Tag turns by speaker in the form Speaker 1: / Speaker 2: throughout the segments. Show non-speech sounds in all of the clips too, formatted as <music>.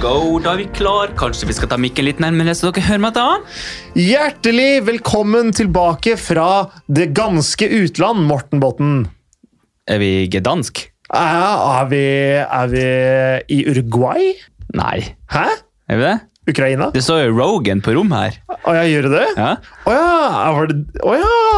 Speaker 1: go, da er vi klar. Kanskje vi skal ta mikken litt nærmere, så dere hører meg da?
Speaker 2: Hjertelig velkommen tilbake fra det ganske utland, Morten Botten.
Speaker 1: Er vi gedansk?
Speaker 2: Ja, Er vi, er vi i Uruguay?
Speaker 1: Nei.
Speaker 2: Hæ?
Speaker 1: Er vi det?
Speaker 2: Ukraina?
Speaker 1: Det står jo Rogan på rom her.
Speaker 2: Å ja, gjør det det?
Speaker 1: Ja?
Speaker 2: Å ja, var det, å ja!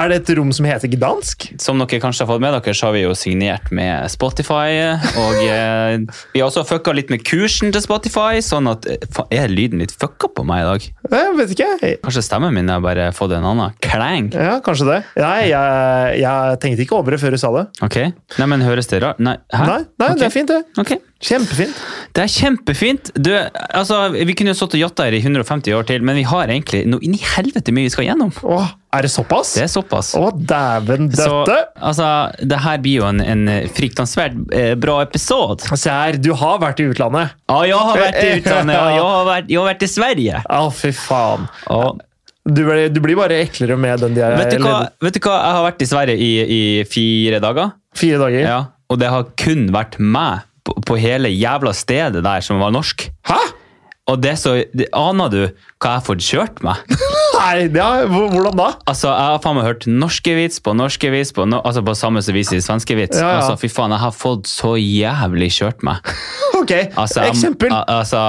Speaker 2: Er det et rom som heter Gdansk?
Speaker 1: Som dere kanskje har fått med dere, så har vi jo signert med Spotify. Og eh, vi har også fucka litt med kursen til Spotify, sånn at eh, faen, Er lyden litt fucka på meg i dag?
Speaker 2: Jeg vet ikke.
Speaker 1: Kanskje stemmen min har bare fått en annen klang?
Speaker 2: Ja, kanskje det. Nei, jeg, jeg tenkte ikke over det før du sa det.
Speaker 1: Ok? Nei, men høres det rart Nei, hæ?
Speaker 2: Nei, nei
Speaker 1: Ok.
Speaker 2: det er fint, det.
Speaker 1: Ok.
Speaker 2: Kjempefint.
Speaker 1: Det er kjempefint. Du, altså, vi kunne jo stått og jatta her i 150 år til, men vi har egentlig noe inn i helvete mye vi skal gjennom.
Speaker 2: Åh, er det såpass?
Speaker 1: Det er såpass.
Speaker 2: Å, dæven
Speaker 1: Så
Speaker 2: døtte!
Speaker 1: altså, det her blir jo en, en fryktansvært eh, bra episode.
Speaker 2: Se her, du har vært i utlandet.
Speaker 1: Ja, jeg har vært
Speaker 2: Eh,
Speaker 1: i utlandet.
Speaker 2: <laughs>
Speaker 1: Ja, jeg, har vært, jeg har vært i Sverige.
Speaker 2: Å, fy faen.
Speaker 1: Og,
Speaker 2: Du, ble, du blir bare eklere med den de er
Speaker 1: vet, du hva,
Speaker 2: eller-
Speaker 1: vet du hva? Jeg har vært i Sverige i, i fire dager.
Speaker 2: Fire dager.
Speaker 1: Ja, og det har kun vært meg på, på hele jævla stedet der som var norsk.
Speaker 2: Hæ?!
Speaker 1: Og det så, det, aner du hva jeg har fått kjørt meg?
Speaker 2: Nei, ja, hvor- hvordan da?
Speaker 1: Altså, Jeg har faen meg hørt norske vits på norske vits på, no, altså på samme som viser svenske vits.
Speaker 2: Ja, ja.
Speaker 1: Altså, Fy faen, jeg har fått så jævlig kjørt meg.
Speaker 2: Ok,
Speaker 1: Altså, jeg-
Speaker 2: eksempel.
Speaker 1: al- Altså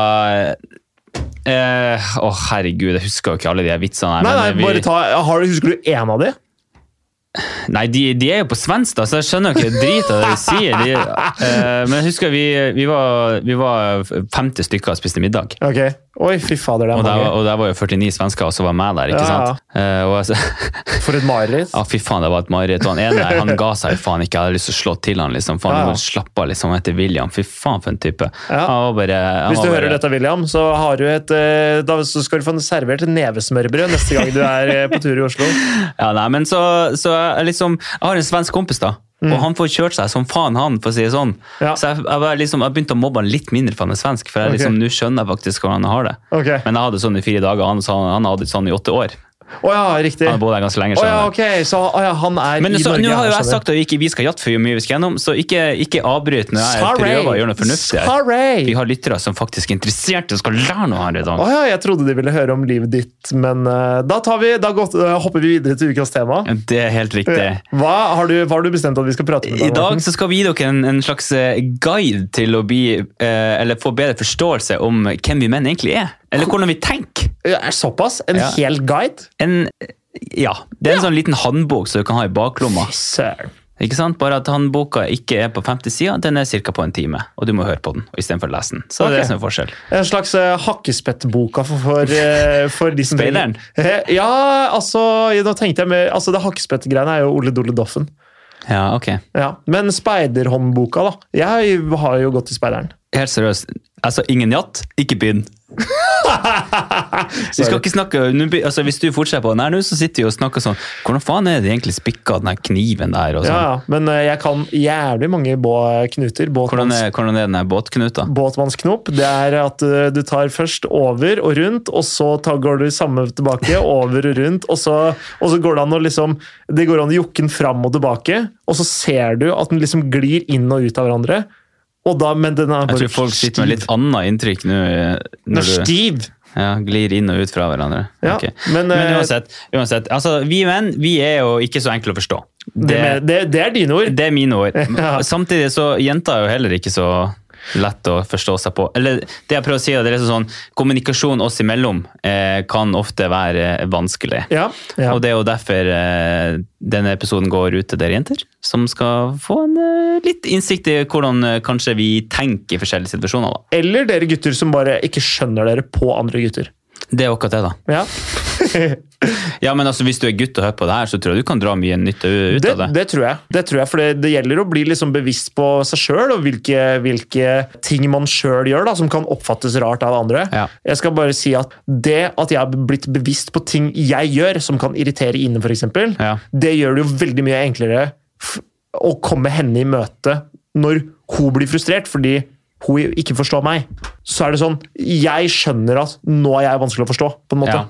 Speaker 1: eh, Å, herregud, jeg husker jo ikke alle de her vitsene. her,
Speaker 2: nei,
Speaker 1: men
Speaker 2: nei, bare
Speaker 1: vi,
Speaker 2: ta, har du, Husker du én av de?
Speaker 1: nei de, de er jo på svensk, da, så jeg skjønner jo ikke drit av det de sier. De, eh, men jeg husker vi, vi, var, vi var 50 stykker og spiste middag.
Speaker 2: Ok. Oi, fy fader, det er
Speaker 1: Og der,
Speaker 2: mange.
Speaker 1: og der var jo 49 svensker, og så var meg der, ikke
Speaker 2: Ja, ja.
Speaker 1: sant? Eh, og <laughs> jeg,
Speaker 2: For et mareritt.
Speaker 1: Ja, fy faen, det var et mareritt. Og Han ene her, han ga seg jo faen ikke. Jeg hadde lyst til å slå til han, liksom. Faen,
Speaker 2: Ja.
Speaker 1: ja. Slapp av, liksom. Han heter William. Fy faen, for en type.
Speaker 2: Ja.
Speaker 1: Han var bare, han
Speaker 2: Hvis du
Speaker 1: var
Speaker 2: hører
Speaker 1: bare,
Speaker 2: dette, William, så, har du et, eh, da så skal du få en servert nevesmørbrød neste gang du er eh, på tur i Oslo.
Speaker 1: Ja, nei, men så, så jeg liksom Jeg har en svensk kompis, da. Og han får kjørt seg som faen, han, for å si det sånn.
Speaker 2: Mm. Ja.
Speaker 1: Så jeg, jeg, var liksom, jeg begynte å mobbe han litt mindre for han er svensk, for jeg
Speaker 2: Ok.
Speaker 1: liksom, nå skjønner jeg faktisk hvordan han har det.
Speaker 2: Ok.
Speaker 1: Men jeg hadde sånn i fire dager, han, han, han hadde sånn i åtte år.
Speaker 2: Å ja, riktig.
Speaker 1: Han har bodd her ganske lenge.
Speaker 2: Å
Speaker 1: skjønner
Speaker 2: ja,
Speaker 1: jeg.
Speaker 2: ok, så å ja, han er
Speaker 1: Men
Speaker 2: i
Speaker 1: så,
Speaker 2: Norge. altså.
Speaker 1: nå har
Speaker 2: her,
Speaker 1: jo jeg
Speaker 2: skjønner.
Speaker 1: sagt at vi ikke vi skal jatte for mye vi skal gjennom, så ikke, ikke avbryt når jeg prøver å gjøre noe fornuftig. her.
Speaker 2: Sorry!
Speaker 1: Vi har lyttere som faktisk er interessert og skal lære noe her i dag.
Speaker 2: Å ja, jeg trodde de ville høre om livet ditt, men eh, da, tar vi, da går, eh, hopper vi videre til ukas tema.
Speaker 1: Det er helt riktig.
Speaker 2: Hva har, du, hva har du bestemt at vi skal prate om
Speaker 1: I dag
Speaker 2: Morten?
Speaker 1: så skal vi gi dere en, en slags eh, guide til å bli, eh, eller få bedre forståelse om hvem vi menn egentlig er. Eller hvordan vi tenker.
Speaker 2: Ja, er Såpass? En
Speaker 1: Ja.
Speaker 2: hel guide?
Speaker 1: En, ja, det er en sånn liten håndbok som du kan ha i baklomma.
Speaker 2: Søren.
Speaker 1: Ikke sant? Bare at håndboka ikke er på 50 sider, den er ca. på en time. Og du må høre på den og istedenfor å lese den. Så det er
Speaker 2: Ok.
Speaker 1: det som er forskjell.
Speaker 2: En slags eh, hakkespettboka for, for, eh, for de som
Speaker 1: Speideren?
Speaker 2: Eh, Ja, altså ja, nå tenkte jeg med, altså Det hakkespettgreiene er jo Ole Dole Doffen.
Speaker 1: Ja, ok.
Speaker 2: Ja. Men speiderhåndboka, da. Jeg har jo gått i Speideren.
Speaker 1: Helt seriøst. Altså, ingen jatt, ikke begynn. Vi skal ikke snakke, nå be- altså Hvis du fortsetter på den her nå, så sitter vi og snakker sånn Hvordan faen er det egentlig spikka, den her kniven der? og
Speaker 2: Ja,
Speaker 1: sånn?
Speaker 2: ja. Men eh, jeg kan jævlig mange bå- knuter.
Speaker 1: Hvordan,
Speaker 2: Båtmanns,
Speaker 1: er, hvordan er den her båtknuta?
Speaker 2: båtmannsknop. Det er at eh, du tar først over og rundt, og så tar, går du samme tilbake, <laughs> over og rundt, og så, og så går det an å liksom Det går an å jukke den fram og tilbake, og så ser du at den liksom glir inn og ut av hverandre. Og da, men den er
Speaker 1: Jeg tror folk sitter med litt annet inntrykk nå. eh,
Speaker 2: Den er
Speaker 1: Når du
Speaker 2: stiv!
Speaker 1: ja, glir inn og ut fra hverandre.
Speaker 2: Ja,
Speaker 1: Ok.
Speaker 2: men,
Speaker 1: Men
Speaker 2: eh,
Speaker 1: uansett, uansett altså, vi menn vi er jo ikke så enkle å forstå.
Speaker 2: Det, med- det, det er dine ord.
Speaker 1: Det er mine ord.
Speaker 2: <laughs> Ja.
Speaker 1: Samtidig så jenter er jo heller ikke så lett å forstå seg på. Eller det jeg prøver å si, er at det er liksom sånn, kommunikasjon oss imellom eh, kan ofte være eh, vanskelig.
Speaker 2: Ja, ja.
Speaker 1: Og det er jo derfor eh, denne episoden går ut til dere jenter, som skal få en eh, litt innsikt i hvordan eh, kanskje vi tenker i forskjellige situasjoner. Da.
Speaker 2: Eller dere gutter som bare ikke skjønner dere på andre gutter.
Speaker 1: Det er akkurat det, da.
Speaker 2: Ja.
Speaker 1: Ja, men altså, Hvis du er gutt og hører på det her, så tror jeg du kan dra mye nytte u- ut
Speaker 2: Det,
Speaker 1: av det.
Speaker 2: det tror jeg. Det tror jeg, For det, det gjelder å bli liksom bevisst på seg sjøl, og hvilke, hvilke ting man sjøl gjør da, som kan oppfattes rart av andre.
Speaker 1: Ja.
Speaker 2: Jeg skal bare si at det at jeg har blitt bevisst på ting jeg gjør, som kan irritere Ine, f.eks.,
Speaker 1: Ja.
Speaker 2: det gjør det jo veldig mye enklere f- å komme henne i møte når hun blir frustrert fordi hun ikke forstår meg. Så er det sånn Jeg skjønner at nå er jeg vanskelig å forstå, på en måte.
Speaker 1: Ja.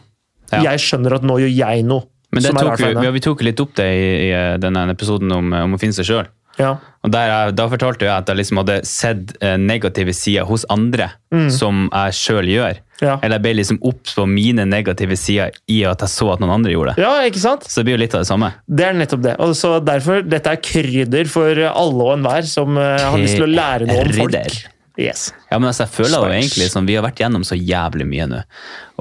Speaker 1: Ja.
Speaker 2: Jeg skjønner at nå gjør jeg noe
Speaker 1: Men det
Speaker 2: som er
Speaker 1: tok,
Speaker 2: rart for
Speaker 1: vi,
Speaker 2: henne.
Speaker 1: ja, vi tok litt opp det i, i eh, denne episoden om, eh, om å finne seg sjøl.
Speaker 2: Ja.
Speaker 1: Og der, jeg- da fortalte jeg at jeg liksom hadde sett eh, negative sider hos andre som jeg sjøl gjør.
Speaker 2: Ja.
Speaker 1: Eller jeg ble liksom obs på mine negative sider i at jeg så at noen andre gjorde det.
Speaker 2: ja, ikke sant?
Speaker 1: Så det blir jo litt av det samme.
Speaker 2: Det er nettopp det. Og så derfor, Dette er krydder for alle og enhver som eh, har lyst til å lære noe om folk.
Speaker 1: Krydder.
Speaker 2: Yes.
Speaker 1: Ja, men altså, jeg føler jo
Speaker 2: Stakkars.
Speaker 1: egentlig som Vi har vært gjennom så jævlig mye nå.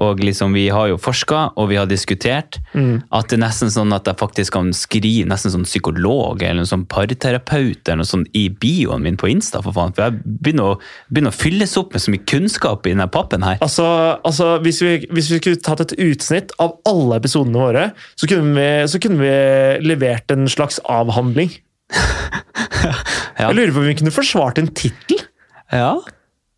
Speaker 1: Og liksom, Vi har jo forska og vi har diskutert. At det er nesten sånn at jeg faktisk kan skrive nesten sånn psykolog eller en sånn parterapeut eller noe sånt i bioen min på Insta. For faen, for jeg begynner å, begynner å fylles opp med så mye kunnskap i denne pappen her.
Speaker 2: Altså, altså hvis, vi, hvis vi skulle tatt et utsnitt av alle episodene våre, så kunne vi, så kunne vi levert en slags avhandling.
Speaker 1: <laughs> Ja.
Speaker 2: Jeg lurer på om vi kunne forsvart en tittel?
Speaker 1: Ja.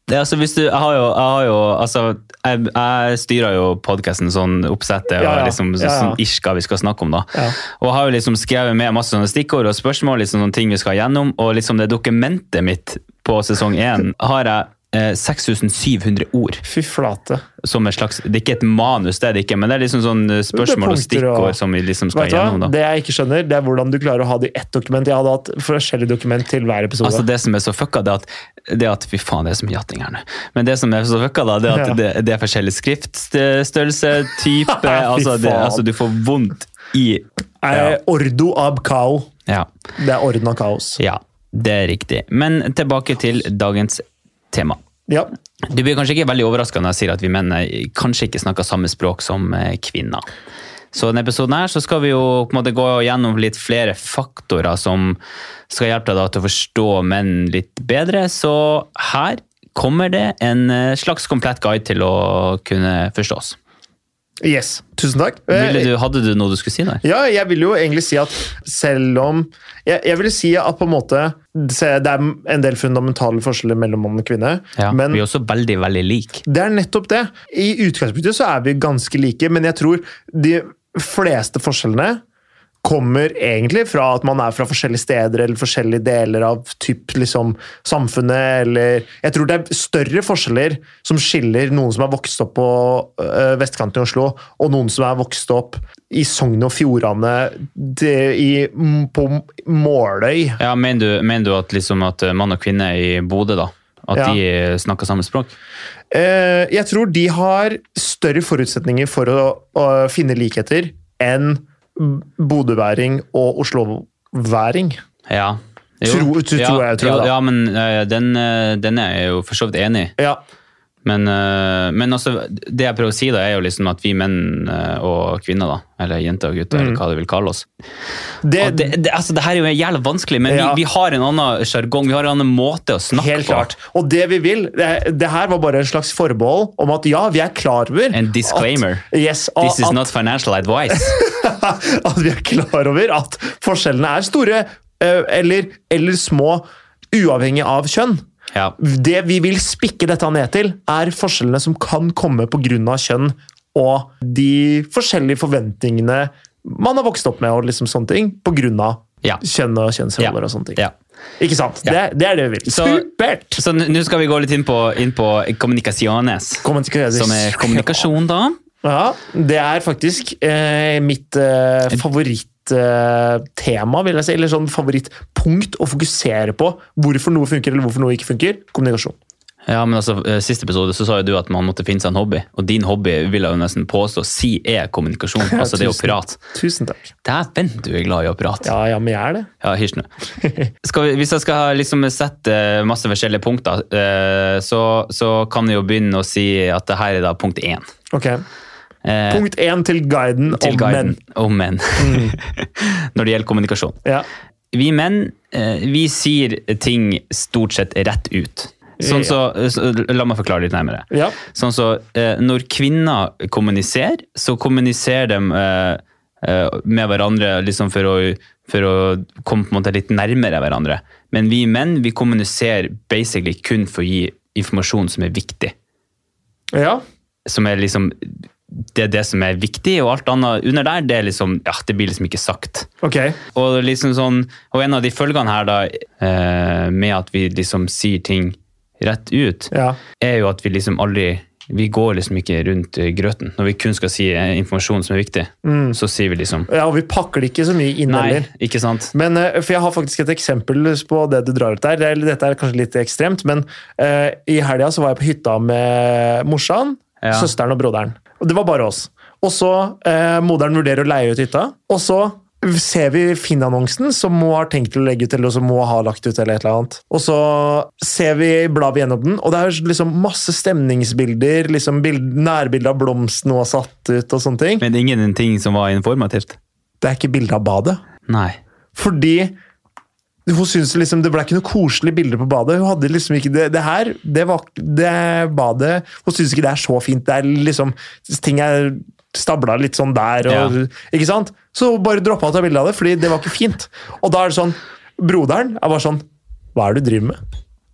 Speaker 1: Det, er altså, hvis du, jeg har jo, jeg, har jo, altså, jeg, jeg styrer jo podkasten sånn oppsettet
Speaker 2: Ja, ja.
Speaker 1: og liksom, så,
Speaker 2: Ja, ja.
Speaker 1: sånn ish hva vi skal snakke om. da.
Speaker 2: Ja.
Speaker 1: Og jeg har jo liksom skrevet med masse sånne stikkord og spørsmål, liksom, noen ting vi skal gjennom, og liksom det dokumentet mitt på sesong én har jeg eh, 6700 ord.
Speaker 2: Fy flate.
Speaker 1: som et slags, Det er ikke et manus, det er det ikke, men det er liksom sånn eh, spørsmål og
Speaker 2: punkter
Speaker 1: stikkord
Speaker 2: og-
Speaker 1: som vi liksom skal
Speaker 2: Vet du
Speaker 1: gjennom.
Speaker 2: hva?
Speaker 1: da.
Speaker 2: Det jeg ikke skjønner, det er hvordan du klarer å ha det i ett dokument. Jeg hadde hatt forskjellige dokument til hver episode.
Speaker 1: Altså Det som er så fucka, det er at, det er at Fy faen, det er så mye jatting her nå. Men det som er så fucka, da, det er at
Speaker 2: Ja.
Speaker 1: det, det er forskjellig skriftstørrelse, type
Speaker 2: <laughs> Fy
Speaker 1: altså, det,
Speaker 2: faen.
Speaker 1: altså, du får vondt i
Speaker 2: Eh, Ordo ab cao.
Speaker 1: Ja.
Speaker 2: Det er orden av kaos.
Speaker 1: ja det er riktig. Men tilbake til dagens tema.
Speaker 2: Ja.
Speaker 1: Du blir kanskje ikke veldig overraska når jeg sier at vi menn eh, kanskje ikke snakker samme språk som eh, kvinner. Så i denne episoden her så skal vi jo på en måte gå gjennom litt flere faktorer som skal hjelpe deg da til å forstå menn litt bedre. Så her kommer det en eh, slags komplett guide til å kunne forstås.
Speaker 2: Yes. Tusen takk. Eh,
Speaker 1: Ville du, hadde du noe du skulle si der?
Speaker 2: Ja, jeg vil jo egentlig si at selv om Jeg, jeg vil si at på en måte se, Det er en del fundamentale forskjeller mellom mann og kvinne,
Speaker 1: Ja,
Speaker 2: men
Speaker 1: vi er også veldig, veldig like.
Speaker 2: det er nettopp det. I utgangspunktet så er vi ganske like, men jeg tror de fleste forskjellene kommer egentlig fra at man er fra forskjellige steder eller forskjellige deler av typ liksom samfunnet eller Jeg tror det er større forskjeller som skiller noen som er vokst opp på øh, vestkanten i Oslo, og noen som er vokst opp i Sogn og Fjordane, det, i, m- på Måløy.
Speaker 1: Ja, Mener du, mener du at, liksom at eh, mann og kvinne i Bodø da, at
Speaker 2: Ja.
Speaker 1: de eh, snakker samme språk?
Speaker 2: Eh, jeg tror de har større forutsetninger for å, å finne likheter enn b- bodøværing og osloværing.
Speaker 1: Ja.
Speaker 2: Tro- tro-
Speaker 1: ja,
Speaker 2: tror jeg, tror jeg
Speaker 1: ja,
Speaker 2: da.
Speaker 1: ja, men eh, den, eh, den er jeg jo for så vidt enig i.
Speaker 2: Ja,
Speaker 1: Men, eh, men altså, det jeg prøver å si, da, er jo liksom at vi menn eh, og kvinner, da, eller jenter og gutter,
Speaker 2: Mm.
Speaker 1: eller hva du vil kalle oss
Speaker 2: det,
Speaker 1: Og det, det, altså, det her er jo jævla vanskelig, men
Speaker 2: Eh, Ja.
Speaker 1: vi, vi har en annen sjargong. Vi har en annen måte å snakke
Speaker 2: Helt
Speaker 1: på.
Speaker 2: klart. Og det vi vil det, det her var bare en slags forbehold om at ja, vi er klar over
Speaker 1: En disclaimer.
Speaker 2: At, yes, og
Speaker 1: This is
Speaker 2: at,
Speaker 1: not financial
Speaker 2: <laughs>
Speaker 1: advice.
Speaker 2: at vi er klar over at forskjellene er store eh, eller, eller små, uavhengig av kjønn.
Speaker 1: Ja.
Speaker 2: Det vi vil spikke dette ned til, er forskjellene som kan komme pga. kjønn og de forskjellige forventningene man har vokst opp med, og liksom sånne ting, pga.
Speaker 1: Ja.
Speaker 2: kjønn og kjønnsroller
Speaker 1: Ja.
Speaker 2: og sånne ting.
Speaker 1: ja.
Speaker 2: Ikke sant? Det, det er det vi vil.
Speaker 1: Så-
Speaker 2: Supert!
Speaker 1: Så n- nå skal vi gå litt inn på, inn på kommunikasjones,
Speaker 2: Kommer til å gjøre det.
Speaker 1: som er kommunikasjon, da.
Speaker 2: <laughs> Ja, det er faktisk eh, mitt eh, favorittema, eh, tema, vil jeg si. Eller sånn favorittpunkt å fokusere på. Hvorfor noe funker, eller hvorfor noe ikke funker. Kommunikasjon.
Speaker 1: Ja, men altså, eh, Siste episode så sa jo du at man måtte finne seg en hobby. Og din hobby vil jeg jo nesten påstå si er
Speaker 2: <laughs>
Speaker 1: kommunikasjon. altså det å
Speaker 2: tusen.
Speaker 1: prate.
Speaker 2: Tusen takk.
Speaker 1: Dæven, du er glad i å prate. Ja,
Speaker 2: Ja, ja, men jeg er det.
Speaker 1: hysj nå. <laughs> Skal vi- Hvis jeg skal liksom sette eh, masse forskjellige punkter, eh, så, så kan jeg jo begynne å si at det her er da punkt én.
Speaker 2: <laughs> Ok.
Speaker 1: Eh,
Speaker 2: Punkt én til guiden
Speaker 1: til
Speaker 2: om
Speaker 1: guiden
Speaker 2: menn. Mm.
Speaker 1: om menn. <laughs> Når det gjelder kommunikasjon.
Speaker 2: Ja.
Speaker 1: vi menn, eh, vi sier ting stort sett rett ut. Sånn så, så- la meg forklare litt nærmere.
Speaker 2: Ja.
Speaker 1: Sånn så, eh, når kvinner kommuniserer, så kommuniserer de eh, eh, med hverandre liksom for å, for å komme på en måte litt nærmere hverandre. Men vi menn, vi kommuniserer basically kun for å gi informasjon som er viktig.
Speaker 2: ja.
Speaker 1: Som er liksom, det er det som er viktig, og alt annet under der, det, er liksom, ja, det blir liksom ikke sagt.
Speaker 2: Ok.
Speaker 1: Og, liksom sånn, og en av de følgene her, da, eh, med at vi liksom sier ting rett ut,
Speaker 2: Ja.
Speaker 1: er jo at vi liksom aldri Vi går liksom ikke rundt i grøten. Når vi kun skal si eh, informasjon som er viktig,
Speaker 2: Mm.
Speaker 1: så sier vi liksom
Speaker 2: Ja, og vi pakker det ikke så mye inn
Speaker 1: Nei,
Speaker 2: heller.
Speaker 1: ikke sant?
Speaker 2: Men, eh, for Jeg har faktisk et eksempel på det du drar ut der. Det er- Dette er kanskje litt ekstremt, men eh, i helga så var jeg på hytta med morsan,
Speaker 1: Ja.
Speaker 2: søsteren og broderen. Og Det var bare oss. Og så eh, Moderen vurderer å leie ut hytta, og så ser vi Finn-annonsen som hun har tenkt til å legge ut, eller som hun har lagt ut, eller et eller annet. Og så ser vi, blar vi gjennom den, og det er jo liksom masse stemningsbilder, liksom bild, nærbilde av blomsten hun har satt ut, og sånne ting.
Speaker 1: Men det er ingen ting som var informativt?
Speaker 2: Det er ikke bilde av badet.
Speaker 1: Nei.
Speaker 2: Fordi hun syntes liksom det ble ikke noe koselig bilde på badet. Hun hadde liksom ikke det, det her, det var det badet Hun syns ikke det er så fint. Det er liksom Ting er stabla litt sånn der og Ikke sant? Så hun bare droppa å ta bilde av det, fordi det var ikke fint. Og da er det sånn Broderen er bare sånn Hva er det du driver med?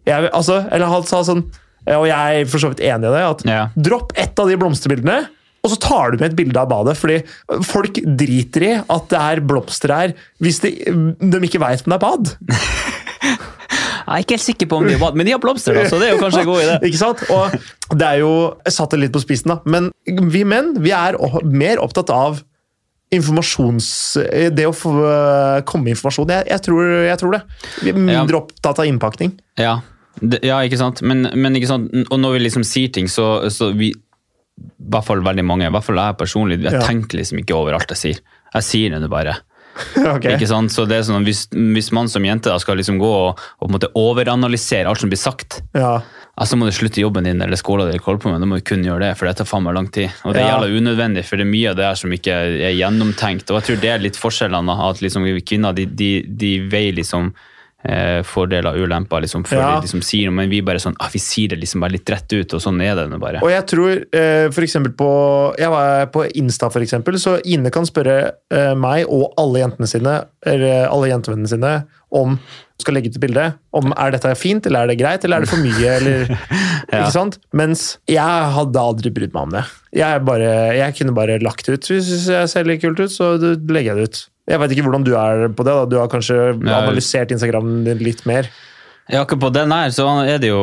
Speaker 2: Jeg, altså, eller han sa sånn Og jeg er for så vidt enig i det. at
Speaker 1: Ja.
Speaker 2: Dropp ett av de blomsterbildene, og så tar du med et bilde av badet. Fordi folk driter i at det er blomster her, hvis de, de ikke veit om det er bad.
Speaker 1: Jeg er ikke helt sikker på om de har bad, men de har blomster, da, så det er jo kanskje en god idé.
Speaker 2: Ikke sant? Og det er jo Jeg satte det litt på spissen, da. Men vi menn vi er o- mer opptatt av informasjons... Det å få øh, komme med informasjon. Jeg, jeg, tror, jeg tror det. Vi er mindre opptatt av innpakning.
Speaker 1: <laughs>
Speaker 2: <laughs>
Speaker 1: Ja, det, ja ikke sant? Men, men ikke sant? Og når vi liksom sier ting, så, så vi I hvert fall veldig mange, i hvert fall jeg personlig, jeg
Speaker 2: Ja.
Speaker 1: tenker liksom ikke over alt jeg sier. Jeg sier det nå bare.
Speaker 2: Ok.
Speaker 1: Ikke sant? Så det er sånn, hvis, hvis man som jente da skal liksom gå og, og på en måte overanalysere alt som blir sagt,
Speaker 2: Ja.
Speaker 1: ja, så må du slutte jobben din eller skolen din, eller holde på med, da må du kun gjøre det, for det tar faen meg lang tid. Og det er
Speaker 2: Ja.
Speaker 1: jævla unødvendig, for det er mye av det her som ikke er gjennomtenkt. Og jeg tror det er litt forskjellene, da, at liksom kvinner de, de, de veier liksom eh, fordeler og ulemper liksom, før
Speaker 2: Ja.
Speaker 1: de liksom sier noe, men vi bare sånn, ah, vi sier det liksom bare litt rett ut, og sånn er det nå bare.
Speaker 2: Og jeg tror eh, for eksempel på Jeg var på Insta, for eksempel, så Ine kan spørre eh, meg og alle jentene sine, eller eh, alle jentevennene sine, om hun skal legge ut et bilde. Om er dette fint, eller er det greit, eller er det for mye,
Speaker 1: <laughs>
Speaker 2: eller Ikke sant? Mens jeg hadde aldri brydd meg om det. Jeg, bare, jeg kunne bare lagt det ut. Hvis jeg ser litt kult ut, så legger jeg det ut. Jeg veit ikke hvordan du er på det. da. Du har kanskje analysert Instagram din litt mer.
Speaker 1: Ja, akkurat på den her, så er det jo,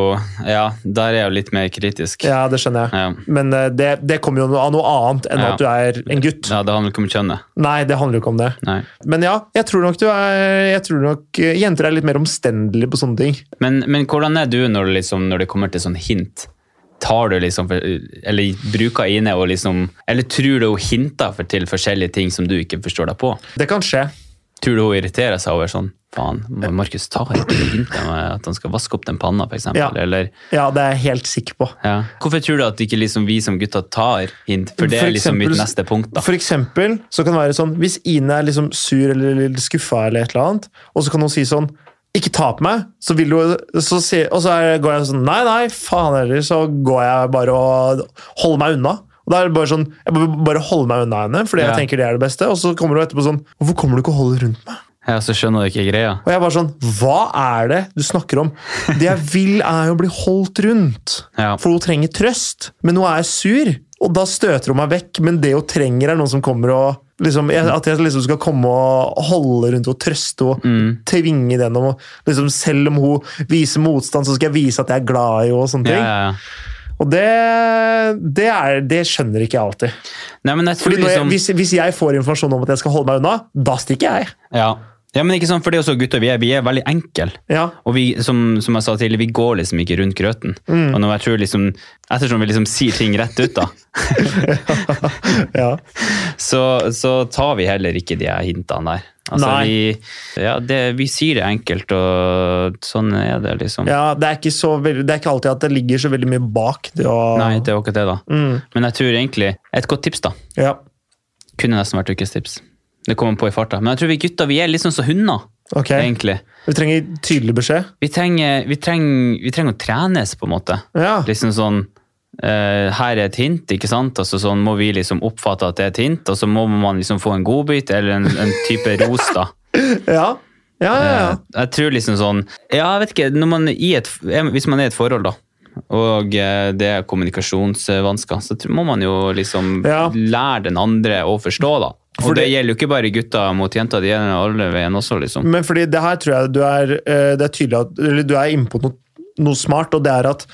Speaker 1: ja, der er jeg jo litt mer kritisk.
Speaker 2: Ja, det skjønner jeg.
Speaker 1: Ja.
Speaker 2: Men eh, det, det kommer jo av noe annet enn
Speaker 1: Ja.
Speaker 2: at du er en gutt.
Speaker 1: Ja, det handler ikke om kjønnet.
Speaker 2: Nei, det handler jo ikke om det.
Speaker 1: Nei.
Speaker 2: Men ja, jeg tror nok du er jeg tror nok eh, Jenter er litt mer omstendelige på sånne ting.
Speaker 1: Men, men hvordan er du når, du liksom, når det kommer til sånn hint? Tar du liksom, eller bruker Ine og liksom, eller tror du hun hinter for til forskjellige ting som du ikke forstår deg på?
Speaker 2: Det kan skje.
Speaker 1: Tror du hun irriterer seg over sånn, faen, Markus tar ikke det hintet med at han skal vaske opp den panna, for eksempel,
Speaker 2: Ja.
Speaker 1: eller...
Speaker 2: Ja, det er jeg helt sikker på.
Speaker 1: Ja. Hvorfor tror du at ikke liksom vi som gutter tar hint? For det
Speaker 2: For
Speaker 1: er liksom
Speaker 2: eksempel-
Speaker 1: mitt neste punkt da.
Speaker 2: For eksempel så kan det være sånn Hvis Ine er liksom sur eller litt skuffa, eller et eller annet, og så kan hun si sånn ikke ta på meg, så vil du, så si, og så er, går jeg sånn Nei, nei, faen heller, så går jeg bare og holder meg unna. Og da er det bare sånn, Jeg bare- bare holder meg unna henne, fordi
Speaker 1: Ja.
Speaker 2: jeg tenker det er det beste. Og så kommer hun etterpå sånn Hvorfor kommer du ikke og holder rundt meg?
Speaker 1: Ja, så skjønner du ikke greia.
Speaker 2: Og jeg bare sånn, hva er det du snakker om? Det jeg vil er jo å bli holdt rundt.
Speaker 1: Ja.
Speaker 2: For hun trenger trøst, men hun er sur. Og da støter hun meg vekk, men det hun trenger er noen som kommer og liksom, jeg, At jeg liksom skal komme og holde rundt og trøste og
Speaker 1: Mm.
Speaker 2: tvinge den om å liksom, Selv om hun viser motstand, så skal jeg vise at jeg er glad i henne og sånne
Speaker 1: Ja,
Speaker 2: ting.
Speaker 1: ja, ja.
Speaker 2: Og det, det, er, det skjønner ikke jeg alltid.
Speaker 1: Nei, men jeg tror
Speaker 2: Fordi når jeg,
Speaker 1: liksom...
Speaker 2: hvis, hvis jeg får informasjon om at jeg skal holde meg unna, da stikker jeg.
Speaker 1: Ja. ja, men ikke sant, for det er jo så gutter vi er. Vi er veldig enkle.
Speaker 2: Ja,
Speaker 1: Og vi, som, som jeg sa tidligere, vi går liksom ikke rundt grøten.
Speaker 2: Mm.
Speaker 1: Og når jeg tror liksom, ettersom vi liksom sier ting rett ut,
Speaker 2: <laughs>
Speaker 1: da,
Speaker 2: ja.
Speaker 1: så, så tar vi heller ikke de her hintene der. Altså,
Speaker 2: Nei.
Speaker 1: Vi, ja, det, vi sier det enkelt, og sånn er det liksom.
Speaker 2: Ja, det er, ikke så veld- det er ikke alltid at det ligger så veldig mye bak det å Mm,
Speaker 1: Nei, det var ikke det, da. Men jeg tror egentlig Et godt tips, da.
Speaker 2: ja.
Speaker 1: Kunne nesten vært ukes tips. Det kommer på i farta. Men jeg tror vi gutter vi er litt sånn som hunder,
Speaker 2: Ok,
Speaker 1: egentlig.
Speaker 2: vi trenger tydelig beskjed.
Speaker 1: Vi trenger, vi, trenger, vi trenger å trenes, på en måte.
Speaker 2: Ja,
Speaker 1: liksom sånn eh, her er et hint, ikke sant? Og så sånn må vi liksom oppfatte at det er et hint, og så må man liksom få en godbit eller en, en type ros, da.
Speaker 2: <laughs> ja, ja, <laughs> ja, ja.
Speaker 1: Eh, Jeg tror liksom sånn Ja, jeg vet ikke, når man i et, hvis man er i et forhold, da. Og eh, det er kommunikasjonsvansker, så tror- må man jo liksom
Speaker 2: Ja.
Speaker 1: lære den andre å forstå, da. Og
Speaker 2: Fordi-
Speaker 1: det gjelder jo ikke bare gutter mot jenter, det gjelder alle veien også, liksom.
Speaker 2: Men fordi det her tror jeg du er, eh, det er tydelig at eller du er inne på noe noe smart, og det er at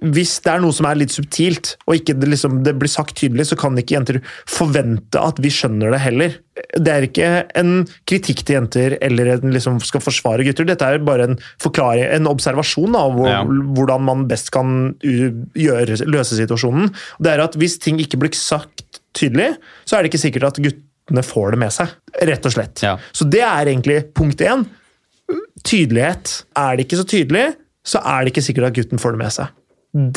Speaker 2: hvis det er noe som er litt subtilt, og ikke det, liksom, det blir sagt tydelig, så kan ikke jenter forvente at vi skjønner det heller. Det er ikke en kritikk til jenter eller en liksom skal forsvare gutter. Dette er bare en, forklaring, en observasjon da, av hvor,
Speaker 1: Ja.
Speaker 2: hvordan man best kan u- gjøre, løse situasjonen. Det er at hvis ting ikke blir sagt tydelig, så er det ikke sikkert at guttene får det med seg. Rett og slett.
Speaker 1: Ja.
Speaker 2: Så det er egentlig punkt én. Tydelighet. Er det ikke så tydelig, så er det ikke sikkert at gutten får det med seg.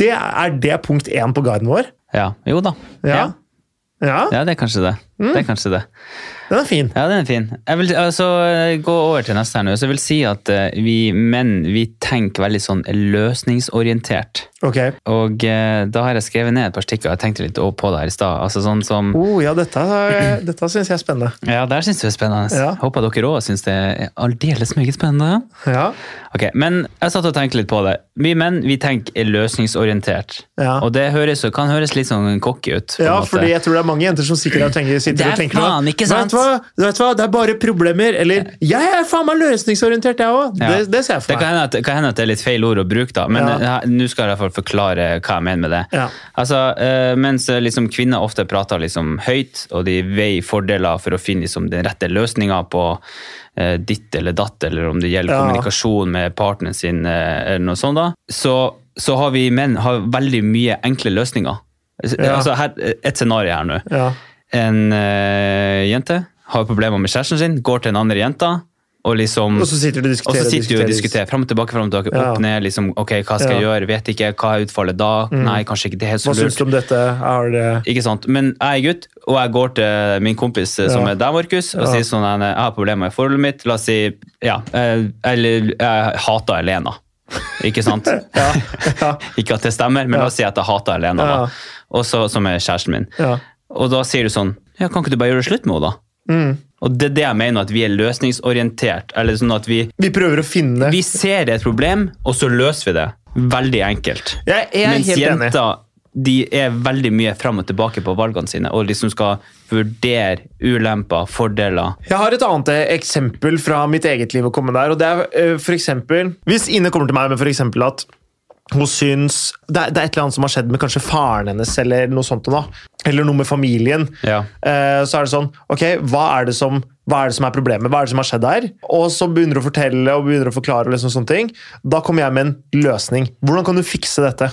Speaker 2: Det er, er det punkt én på guiden vår.
Speaker 1: Ja. Jo da. Ja.
Speaker 2: Ja. Ja,
Speaker 1: ja, det er kanskje det.
Speaker 2: Mm.
Speaker 1: Det er kanskje det.
Speaker 2: den er fin.
Speaker 1: Ja, den er fin. Jeg vil altså, gå over til neste her nå. Så jeg vil si at eh, vi menn vi tenker veldig sånn løsningsorientert.
Speaker 2: Ok.
Speaker 1: Og eh, da har jeg skrevet ned et par stykker, og jeg tenkte litt på det her i stad. Altså sånn som
Speaker 2: Oh, ja, dette, er- dette syns jeg er spennende.
Speaker 1: Ja, der syns du det er spennende.
Speaker 2: Ja.
Speaker 1: Håper dere òg syns det er aldeles meget spennende.
Speaker 2: Ja.
Speaker 1: Ok, Men jeg satt og tenkte litt på det. Vi menn vi tenker løsningsorientert.
Speaker 2: Ja.
Speaker 1: Og det høres, kan høres litt sånn cocky ut. på en
Speaker 2: Ja,
Speaker 1: måte.
Speaker 2: fordi jeg tror det er mange jenter som sikkert har tenker, sitter
Speaker 1: Det er
Speaker 2: og tenker
Speaker 1: faen ikke sant!»
Speaker 2: Vet du, hva? vet du hva, det er bare problemer. Eller jeg er faen meg løsningsorientert, jeg òg.
Speaker 1: Ja.
Speaker 2: Det, det ser jeg
Speaker 1: Det
Speaker 2: for
Speaker 1: kan
Speaker 2: meg.
Speaker 1: hende, at, kan hende at det er litt feil ord å bruke, da, men
Speaker 2: Ja.
Speaker 1: eh, nå skal jeg i hvert fall forklare hva jeg mener med det.
Speaker 2: Ja.
Speaker 1: Altså, eh, mens eh, liksom, kvinner ofte prater liksom, høyt, og de veier fordeler for å finne liksom, den rette løsninga på eh, ditt eller datt, eller om det gjelder
Speaker 2: Ja.
Speaker 1: kommunikasjon med partneren sin, eh, eller noe sånt, da, så, så har vi menn har veldig mye enkle løsninger.
Speaker 2: Ja.
Speaker 1: Altså, her, et scenario her nå.
Speaker 2: Ja.
Speaker 1: En eh, jente har problemer med kjæresten sin, går til en andre jente, og liksom
Speaker 2: Og så sitter du og
Speaker 1: og
Speaker 2: diskuterer.
Speaker 1: så sitter vi og diskuterer fram og tilbake, frem og tilbake,
Speaker 2: Ja.
Speaker 1: opp ned. liksom, ok, Hva skal jeg
Speaker 2: Ja. Mm.
Speaker 1: gjøre? Vet ikke. Hva er utfallet da? Nei, kanskje ikke. Det er helt så
Speaker 2: Hva syns
Speaker 1: lurt.
Speaker 2: du om dette? Er det
Speaker 1: Ikke sant? Men jeg er gutt, og jeg går til min kompis eh, som
Speaker 2: Ja.
Speaker 1: er deg, Markus, og
Speaker 2: Ja.
Speaker 1: sier sånn jeg har problemer med forholdet mitt. La oss si ja, eh, eller jeg hater Elena. <laughs> Ikke sant?
Speaker 2: Ja. <laughs> ja.
Speaker 1: <laughs> ikke at det stemmer, men la oss si at jeg hater Elena,
Speaker 2: Ja.
Speaker 1: da. Og så, som er kjæresten min.
Speaker 2: ja.
Speaker 1: Og da sier du sånn Ja, kan ikke du bare gjøre det slutt med henne, da?
Speaker 2: Mm.
Speaker 1: Og det er det jeg mener, at vi er løsningsorientert. Eller sånn at vi
Speaker 2: Vi prøver å finne
Speaker 1: vi ser et problem, og så løser vi det. Veldig enkelt.
Speaker 2: Jeg er
Speaker 1: Mens
Speaker 2: helt enig.
Speaker 1: jenter de er veldig mye fram og tilbake på valgene sine og liksom skal vurdere ulemper, fordeler.
Speaker 2: Jeg har et annet eksempel fra mitt eget liv å komme der. og det er eh, for eksempel, Hvis Ine kommer til meg med for eksempel at hun syns det er, det er et eller annet som har skjedd med kanskje faren hennes, eller noe sånt nå, eller noe med familien,
Speaker 1: Ja.
Speaker 2: eh, så er det sånn Ok, hva er det som hva er det som er problemet? Hva er det som har skjedd der? Og så begynner du å fortelle og begynner å forklare. og liksom sånne ting. Da kommer jeg med en løsning. Hvordan kan du fikse dette?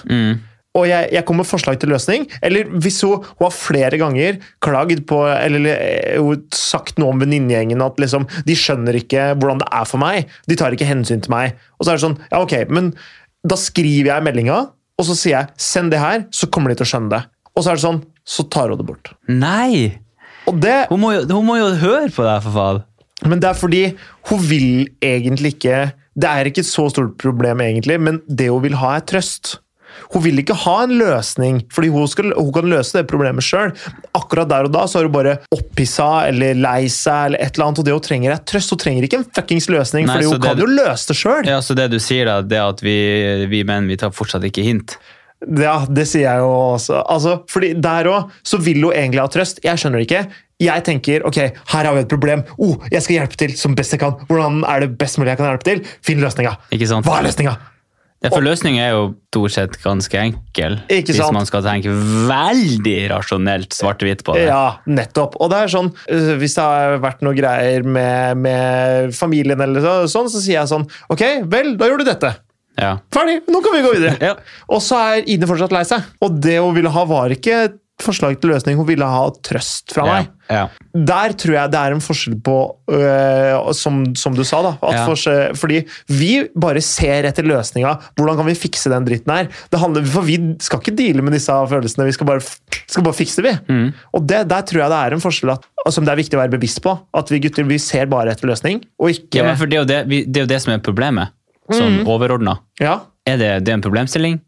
Speaker 2: Og jeg, jeg kommer med forslag til løsning. Eller hvis hun, hun har flere ganger klagd på Eller eh, hun har sagt noe om venninnegjengen at liksom, de skjønner ikke hvordan det er for meg. De tar ikke hensyn til meg. Og så er det sånn, ja ok, men da skriver jeg meldinga, og så sier jeg 'send det her', så kommer de til å skjønne det. Og så er det sånn, så tar hun det bort.
Speaker 1: Nei!
Speaker 2: Og det
Speaker 1: Hun må, jo, hun må jo høre på deg, for faen!
Speaker 2: Men det er fordi hun vil egentlig ikke Det er ikke et så stort problem, egentlig, men det hun vil ha, er trøst. Hun vil ikke ha en løsning, fordi hun, skal, hun kan løse det problemet sjøl. Akkurat der og da så er hun bare opphissa eller lei seg, eller et eller annet, og det hun trenger, er trøst. Hun trenger ikke en fuckings løsning,
Speaker 1: Nei,
Speaker 2: fordi
Speaker 1: så
Speaker 2: hun
Speaker 1: det-
Speaker 2: kan jo løse det sjøl. Ja.
Speaker 1: Ja, så det du sier, da, det er at vi, vi menn vi tar fortsatt ikke hint.
Speaker 2: det sier jeg jo også. Altså, fordi der òg så vil hun egentlig ha trøst. Jeg skjønner det ikke. Jeg tenker ok, her har vi et problem. Oh, jeg skal hjelpe til som best jeg kan. Hvordan er det best mulig jeg kan hjelpe til? Finn løsninga.
Speaker 1: Ikke sant?
Speaker 2: Hva er løsninga?
Speaker 1: Ja, for løsningen er jo stort sett ganske enkel,
Speaker 2: Ikke
Speaker 1: hvis
Speaker 2: sant?
Speaker 1: man skal tenke veldig rasjonelt svart-hvitt på det.
Speaker 2: Ja, nettopp. Og det er sånn, øh, hvis det har vært noe greier med, med familien, eller så- sånn, så sier jeg sånn Ok, vel, da gjør du dette.
Speaker 1: Ja.
Speaker 2: Ferdig! Nå kan vi gå videre!
Speaker 1: Ja.
Speaker 2: Og så er Ine fortsatt lei seg. Og det hun ville ha, var ikke et forslag til løsning, hun ville ha trøst fra
Speaker 1: Ja.
Speaker 2: meg.
Speaker 1: Ja.
Speaker 2: Der tror jeg det er en forskjell på øh, som, som du sa, da. At
Speaker 1: Ja.
Speaker 2: forskjell- fordi vi bare ser etter løsninga. Hvordan kan vi fikse den dritten her? Det handler, for vi skal ikke deale med disse følelsene, vi skal bare, f- skal bare fikse det,
Speaker 1: Mm.
Speaker 2: vi. Og det, der tror jeg det er en forskjell at, som det er viktig å være bevisst på. At vi gutter vi ser bare etter løsning, og ikke
Speaker 1: Ja, men for det er jo det, vi- det, er jo det som er problemet, sånn
Speaker 2: Mhm.
Speaker 1: overordna.
Speaker 2: ja,
Speaker 1: Er det, det er en problemstilling,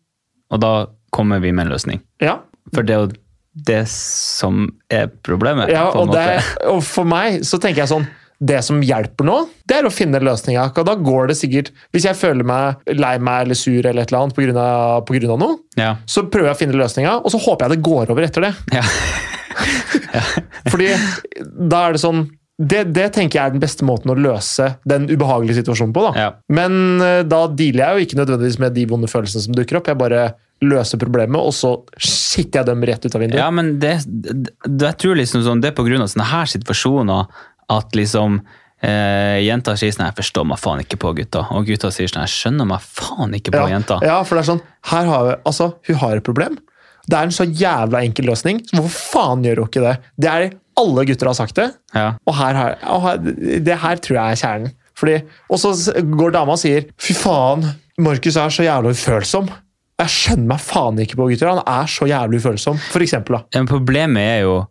Speaker 1: og da kommer vi med en løsning.
Speaker 2: ja.
Speaker 1: For det er jo det som er problemet,
Speaker 2: Ja,
Speaker 1: på en
Speaker 2: og, det,
Speaker 1: måte.
Speaker 2: og for meg så tenker jeg sånn det som hjelper nå, det er å finne løsninga. Da går det sikkert Hvis jeg føler meg lei meg eller sur eller et eller annet på grunn av- på grunn av noe,
Speaker 1: Ja.
Speaker 2: så prøver jeg å finne løsninga, og så håper jeg det går over etter det.
Speaker 1: Ja. <laughs>
Speaker 2: Fordi da er det sånn det, det tenker jeg er den beste måten å løse den ubehagelige situasjonen på. da.
Speaker 1: Ja.
Speaker 2: Men eh, da dealer jeg jo ikke nødvendigvis med de vonde følelsene som dukker opp. Jeg bare løser problemet, og så sitter jeg dem rett ut av vinduet.
Speaker 1: Ja, men det, det, jeg tror liksom sånn, det er på grunn av sånne her situasjoner at liksom eh, jenta sier sånn, jeg forstår meg faen ikke på gutta, og gutta sier sånn, jeg skjønner meg faen ikke på
Speaker 2: ja,
Speaker 1: jenta.
Speaker 2: Ja, for det er sånn, her har vi, altså, hun har et problem. Det er en så jævla enkel løsning. så Hvorfor faen gjør hun ikke det? Det er alle gutter har sagt det,
Speaker 1: Ja.
Speaker 2: og, her, har- og her, det her tror jeg er kjernen. Fordi, og så s- går dama og sier, fy faen, Markus er så jævla ufølsom. Jeg skjønner meg faen ikke på gutter, han er så jævlig ufølsom. For eksempel da.
Speaker 1: Ja, Men problemet er jo,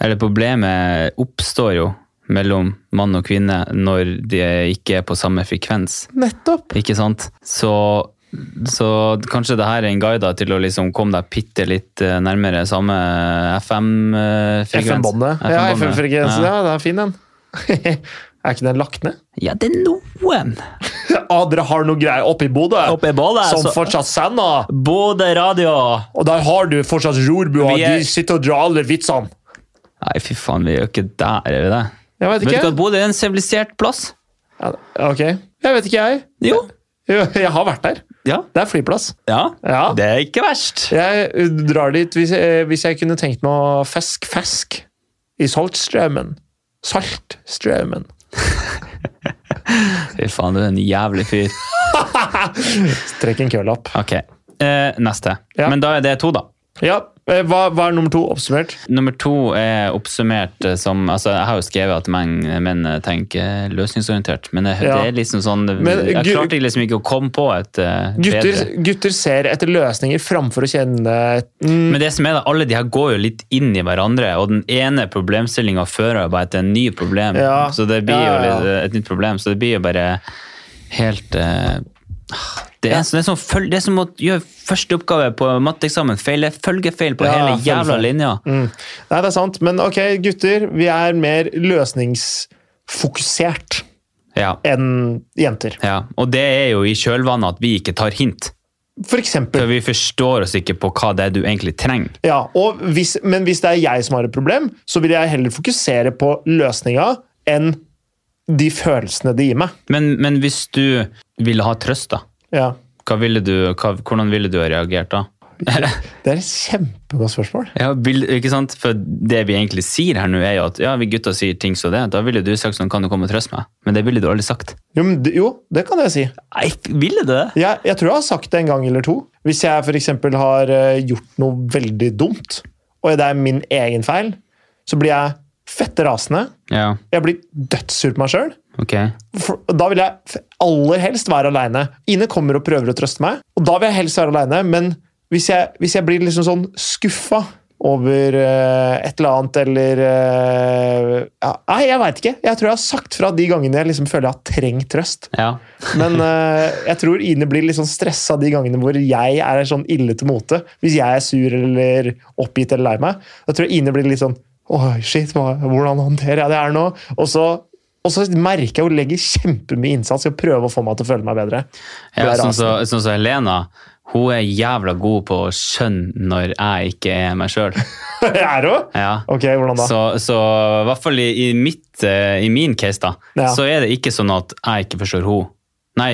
Speaker 1: eller problemet oppstår jo mellom mann og kvinne når de ikke er på samme frekvens.
Speaker 2: Nettopp.
Speaker 1: Ikke sant? Så, så kanskje det her er en guide da til å liksom komme deg bitte litt eh, nærmere samme FM-frekvens.
Speaker 2: FN-båndet. Ja, FN-frekvensen, ja, det er fin den. <laughs> er ikke den lagt ned?
Speaker 1: Ja, det er noen!
Speaker 2: Ah, dere har noe greier oppe i Bodø.
Speaker 1: Oppe i Bodø,
Speaker 2: Som
Speaker 1: så-
Speaker 2: fortsatt sender.
Speaker 1: Både radio
Speaker 2: Og der har du fortsatt rorbua.
Speaker 1: Vi er-
Speaker 2: De sitter og drar alle vitsene.
Speaker 1: Nei, fy faen, vi er jo ikke der, er vi det?
Speaker 2: Jeg vet
Speaker 1: Vet du
Speaker 2: ikke.
Speaker 1: hva, Bodø er en sivilisert plass.
Speaker 2: Ja, ok. Jeg vet ikke, jeg.
Speaker 1: Jo.
Speaker 2: Jo, <laughs> Jeg har vært der.
Speaker 1: Ja.
Speaker 2: Det er flyplass.
Speaker 1: ja.
Speaker 2: Ja.
Speaker 1: Det er ikke verst.
Speaker 2: Jeg uh, drar dit hvis, eh, hvis jeg kunne tenkt meg å fesk fesk i Saltstraumen. Saltstraumen.
Speaker 1: Fy faen, du er en jævlig fyr.
Speaker 2: Trekk en kølapp.
Speaker 1: Ok, eh, neste.
Speaker 2: Ja.
Speaker 1: Men da er det to, da.
Speaker 2: Ja, eh, hva, hva er nummer to oppsummert?
Speaker 1: Nummer to er oppsummert eh, som altså Jeg har jo skrevet at menn, menn eh, tenker løsningsorientert, men det,
Speaker 2: Ja.
Speaker 1: det er liksom sånn
Speaker 2: Men
Speaker 1: Jeg
Speaker 2: gu-
Speaker 1: klarte liksom ikke å komme på et eh,
Speaker 2: Gutter,
Speaker 1: bedre.
Speaker 2: gutter ser etter løsninger framfor å kjenne mm,
Speaker 1: Men det som er da, alle de her går jo litt inn i hverandre, og den ene problemstillinga fører jo bare til en ny problem.
Speaker 2: Ja.
Speaker 1: Så det blir
Speaker 2: Ja, ja,
Speaker 1: jo litt, et nytt problem. Så det blir jo bare helt eh, det er, sånn- det, er som, føl- det er som å gjøre første oppgave på matteeksamen. Feil er følgefeil på
Speaker 2: Ja,
Speaker 1: hele jævla
Speaker 2: følgefeil.
Speaker 1: linja.
Speaker 2: Mm. Nei, det er sant. Men ok, gutter, vi er mer løsningsfokusert
Speaker 1: Ja.
Speaker 2: enn jenter.
Speaker 1: ja. Og det er jo i kjølvannet at vi ikke tar hint.
Speaker 2: For eksempel.
Speaker 1: For vi forstår oss ikke på hva det er du egentlig trenger.
Speaker 2: Ja, og hvis, men hvis det er jeg som har et problem, så vil jeg heller fokusere på løsninga enn de følelsene det gir meg.
Speaker 1: Men, men hvis du ville ha trøst, da,
Speaker 2: Ja.
Speaker 1: hva ville du, hva, hvordan ville du ha reagert
Speaker 2: <laughs>
Speaker 1: da?
Speaker 2: Det er et kjempegodt spørsmål.
Speaker 1: Ja, vil, ikke sant? For det vi egentlig sier her nå er jo at ja, vi gutta sier ting som det. Da ville du sagt sånn, kan du komme og trøste meg? Men det ville du aldri sagt.
Speaker 2: Jo, men, det- jo det kan jeg si.
Speaker 1: Nei, ville du det?
Speaker 2: Jeg, jeg tror jeg har sagt det en gang eller to. Hvis jeg f.eks. har eh, gjort noe veldig dumt, og det er min egen feil, så blir jeg fette rasende.
Speaker 1: Ja,
Speaker 2: Jeg blir dødssur på meg sjøl.
Speaker 1: ok.
Speaker 2: For, da vil jeg f- aller helst være aleine. Ine kommer og prøver å trøste meg, og da vil jeg helst være aleine. Men hvis jeg, hvis jeg blir liksom sånn skuffa over eh, et eller annet, eller eh, ja, Nei, jeg veit ikke. Jeg tror jeg har sagt fra de gangene jeg liksom føler jeg har trengt trøst.
Speaker 1: Ja.
Speaker 2: Men eh, jeg tror Ine blir litt sånn stressa de gangene hvor jeg er sånn ille til mote. Hvis jeg er sur eller oppgitt eller lei meg. Da tror jeg Ine blir litt sånn Oi, shit, hva, hvordan håndterer jeg det her nå? Og så, og så merker jeg hun legger kjempemye innsats i å prøve å få meg til å føle meg bedre. <laughs>
Speaker 1: ja
Speaker 2: Det er
Speaker 1: sånn som så, sånn som Helena, hun er jævla god på å skjønne når jeg ikke er meg sjøl.
Speaker 2: er hun?
Speaker 1: Ja.
Speaker 2: Ok, hvordan da?
Speaker 1: Så, så i hvert fall i, i, mitt, eh, i min case, da,
Speaker 2: Ja.
Speaker 1: så er det ikke sånn at jeg ikke forstår hun. Nei,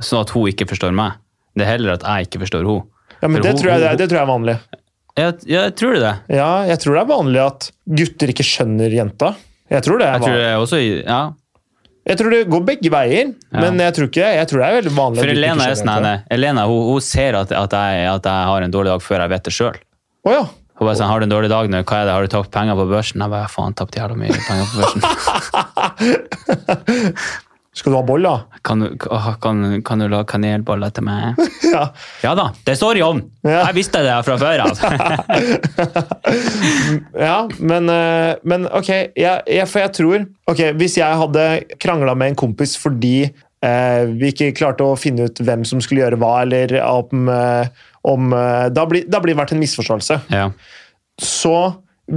Speaker 1: sånn at hun ikke forstår meg. Det er heller at jeg ikke forstår hun.
Speaker 2: ja,
Speaker 1: for
Speaker 2: men det
Speaker 1: hun-
Speaker 2: tror, jeg, det,
Speaker 1: hun-
Speaker 2: det tror jeg er vanlig.
Speaker 1: Jeg, jeg tror det.
Speaker 2: Ja, jeg tror det er vanlig at gutter ikke skjønner jenta. Jeg tror det er
Speaker 1: Jeg tror
Speaker 2: vanlig.
Speaker 1: det er også, ja.
Speaker 2: Jeg tror det går begge veier, men jeg tror, ikke, jeg tror det er veldig vanlig. at
Speaker 1: For
Speaker 2: gutter ikke
Speaker 1: Elena, er
Speaker 2: skjønner
Speaker 1: sånn,
Speaker 2: jenta.
Speaker 1: nei, nei. Elena hun, hun ser at, at, jeg, at jeg har en dårlig dag før jeg vet det sjøl.
Speaker 2: Å ja.
Speaker 1: Hun bare sånn, har du en dårlig dag nå? Hva er det? Har du tapt penger på børsen? Jeg bare, faen, tapt jævla mye penger på
Speaker 2: <laughs>
Speaker 1: børsen.
Speaker 2: Skal du ha boll, da?
Speaker 1: Kan du, åh, kan, kan du lage kanelboller til meg?
Speaker 2: Ja.
Speaker 1: Ja da, det står i ovnen!
Speaker 2: Ja.
Speaker 1: Jeg visste det fra før
Speaker 2: <laughs>
Speaker 1: av.
Speaker 2: Ja, men, eh, men ok, jeg, jeg, for jeg tror Ok, hvis jeg hadde krangla med en kompis fordi eh, vi ikke klarte å finne ut hvem som skulle gjøre hva, eller om, eh, om eh, Da blir da blir det vært en misforståelse.
Speaker 1: Ja.
Speaker 2: Så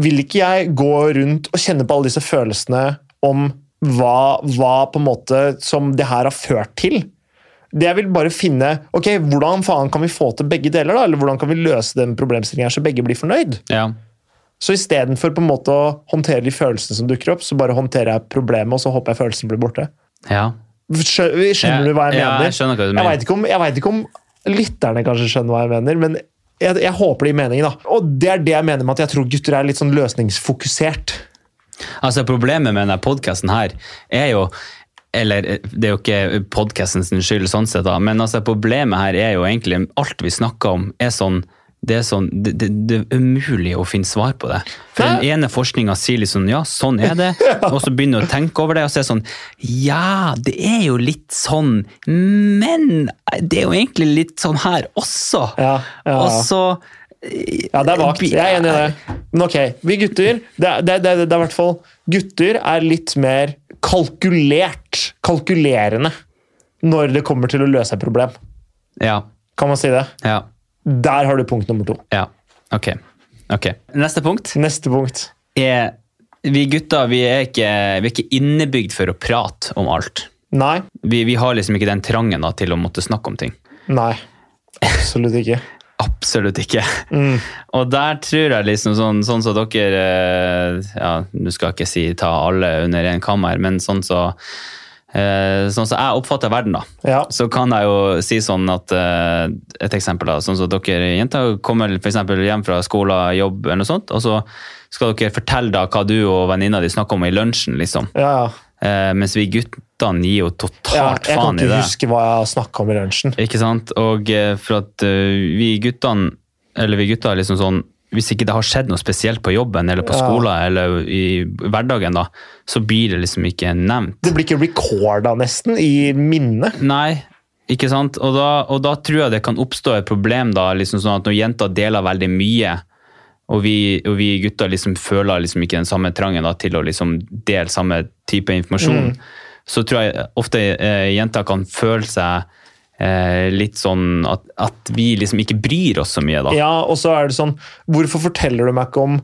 Speaker 2: vil ikke jeg gå rundt og kjenne på alle disse følelsene om hva, hva på en måte som det her har ført til. Det jeg vil bare finne ok, Hvordan faen kan vi få til begge deler? da, Eller hvordan kan vi løse den problemstillingen her så begge blir fornøyd?
Speaker 1: Ja.
Speaker 2: Så istedenfor på en måte å håndtere de følelsene som dukker opp, så bare håndterer jeg problemet, og så håper jeg følelsen blir borte.
Speaker 1: Ja.
Speaker 2: Skjø- Skjønner du hva jeg
Speaker 1: ja,
Speaker 2: mener?
Speaker 1: Jeg skjønner hva du
Speaker 2: Jeg
Speaker 1: mener.
Speaker 2: veit ikke, om- jeg vet ikke om lytterne kanskje skjønner hva jeg mener, men jeg, jeg håper det gir mening. da. Og det er det jeg mener med at jeg tror gutter er litt sånn løsningsfokusert.
Speaker 1: Altså, problemet med denne podkasten her er jo eller eh, det er jo ikke podcasten sin skyld, sånn sett da, men altså problemet her er jo egentlig alt vi snakker om, er sånn det er, sånn, det, det, det er umulig å finne svar på det. For Den ene forskninga sier liksom ja, sånn er
Speaker 2: <laughs>
Speaker 1: det, og så begynner du å tenke over det, og så er det sånn ja, det er jo litt sånn, men det er jo egentlig litt sånn her også.
Speaker 2: Ja, ja,
Speaker 1: Og
Speaker 2: ja.
Speaker 1: så
Speaker 2: Ja, det er vagt. Jeg er enig i det. Men ok, vi gutter det er, det, er- det, er- det er i hvert fall Gutter er litt mer kalkulert, kalkulerende, når det kommer til å løse et problem.
Speaker 1: Ja.
Speaker 2: Kan man si det?
Speaker 1: Ja.
Speaker 2: Der har du punkt nummer to.
Speaker 1: ja. Ok. Ok. Neste punkt.
Speaker 2: Neste punkt.
Speaker 1: er Vi gutter vi er, ikke, vi er ikke innebygd for å prate om alt.
Speaker 2: Nei.
Speaker 1: Vi, vi har liksom ikke den trangen da, til å måtte snakke om ting.
Speaker 2: Nei. Absolutt ikke.
Speaker 1: Absolutt ikke.
Speaker 2: Mm.
Speaker 1: <laughs> Og der tror jeg liksom sånn, sånn som dere eh, Ja, du skal ikke si ta alle under en kammer, men sånn som eh, Sånn som jeg oppfatter verden, da.
Speaker 2: Ja.
Speaker 1: så kan jeg jo si sånn at eh, et eksempel da, sånn som dere jenter kommer for eksempel hjem fra skole, jobb eller noe sånt, og så skal dere fortelle da hva du og venninna di snakker om i lunsjen, liksom.
Speaker 2: ja, ja.
Speaker 1: Eh, mens vi guttene gir jo
Speaker 2: ja
Speaker 1: totalt
Speaker 2: jeg kan
Speaker 1: faen i det.
Speaker 2: ikke huske hva jeg har snakka om i lunsjen.
Speaker 1: Ikke sant? Og eh, for at eh, vi guttene, eller vi gutter er liksom sånn, hvis ikke det har skjedd noe spesielt på jobben, eller på
Speaker 2: Ja.
Speaker 1: skolen, eller i hverdagen da, så blir det liksom ikke nevnt.
Speaker 2: Det blir ikke recorda nesten i minnet.
Speaker 1: Nei, ikke sant? Og da, og da tror jeg det kan oppstå et problem da, liksom sånn at når jenter deler veldig mye, og vi, og vi gutter liksom føler liksom ikke den samme trangen da, til å liksom dele samme type informasjon,
Speaker 2: Mm.
Speaker 1: så tror jeg ofte eh, jenter kan føle seg eh, litt sånn at, at vi liksom ikke bryr oss så mye da.
Speaker 2: Ja, Og så er det sånn Hvorfor forteller du meg ikke om,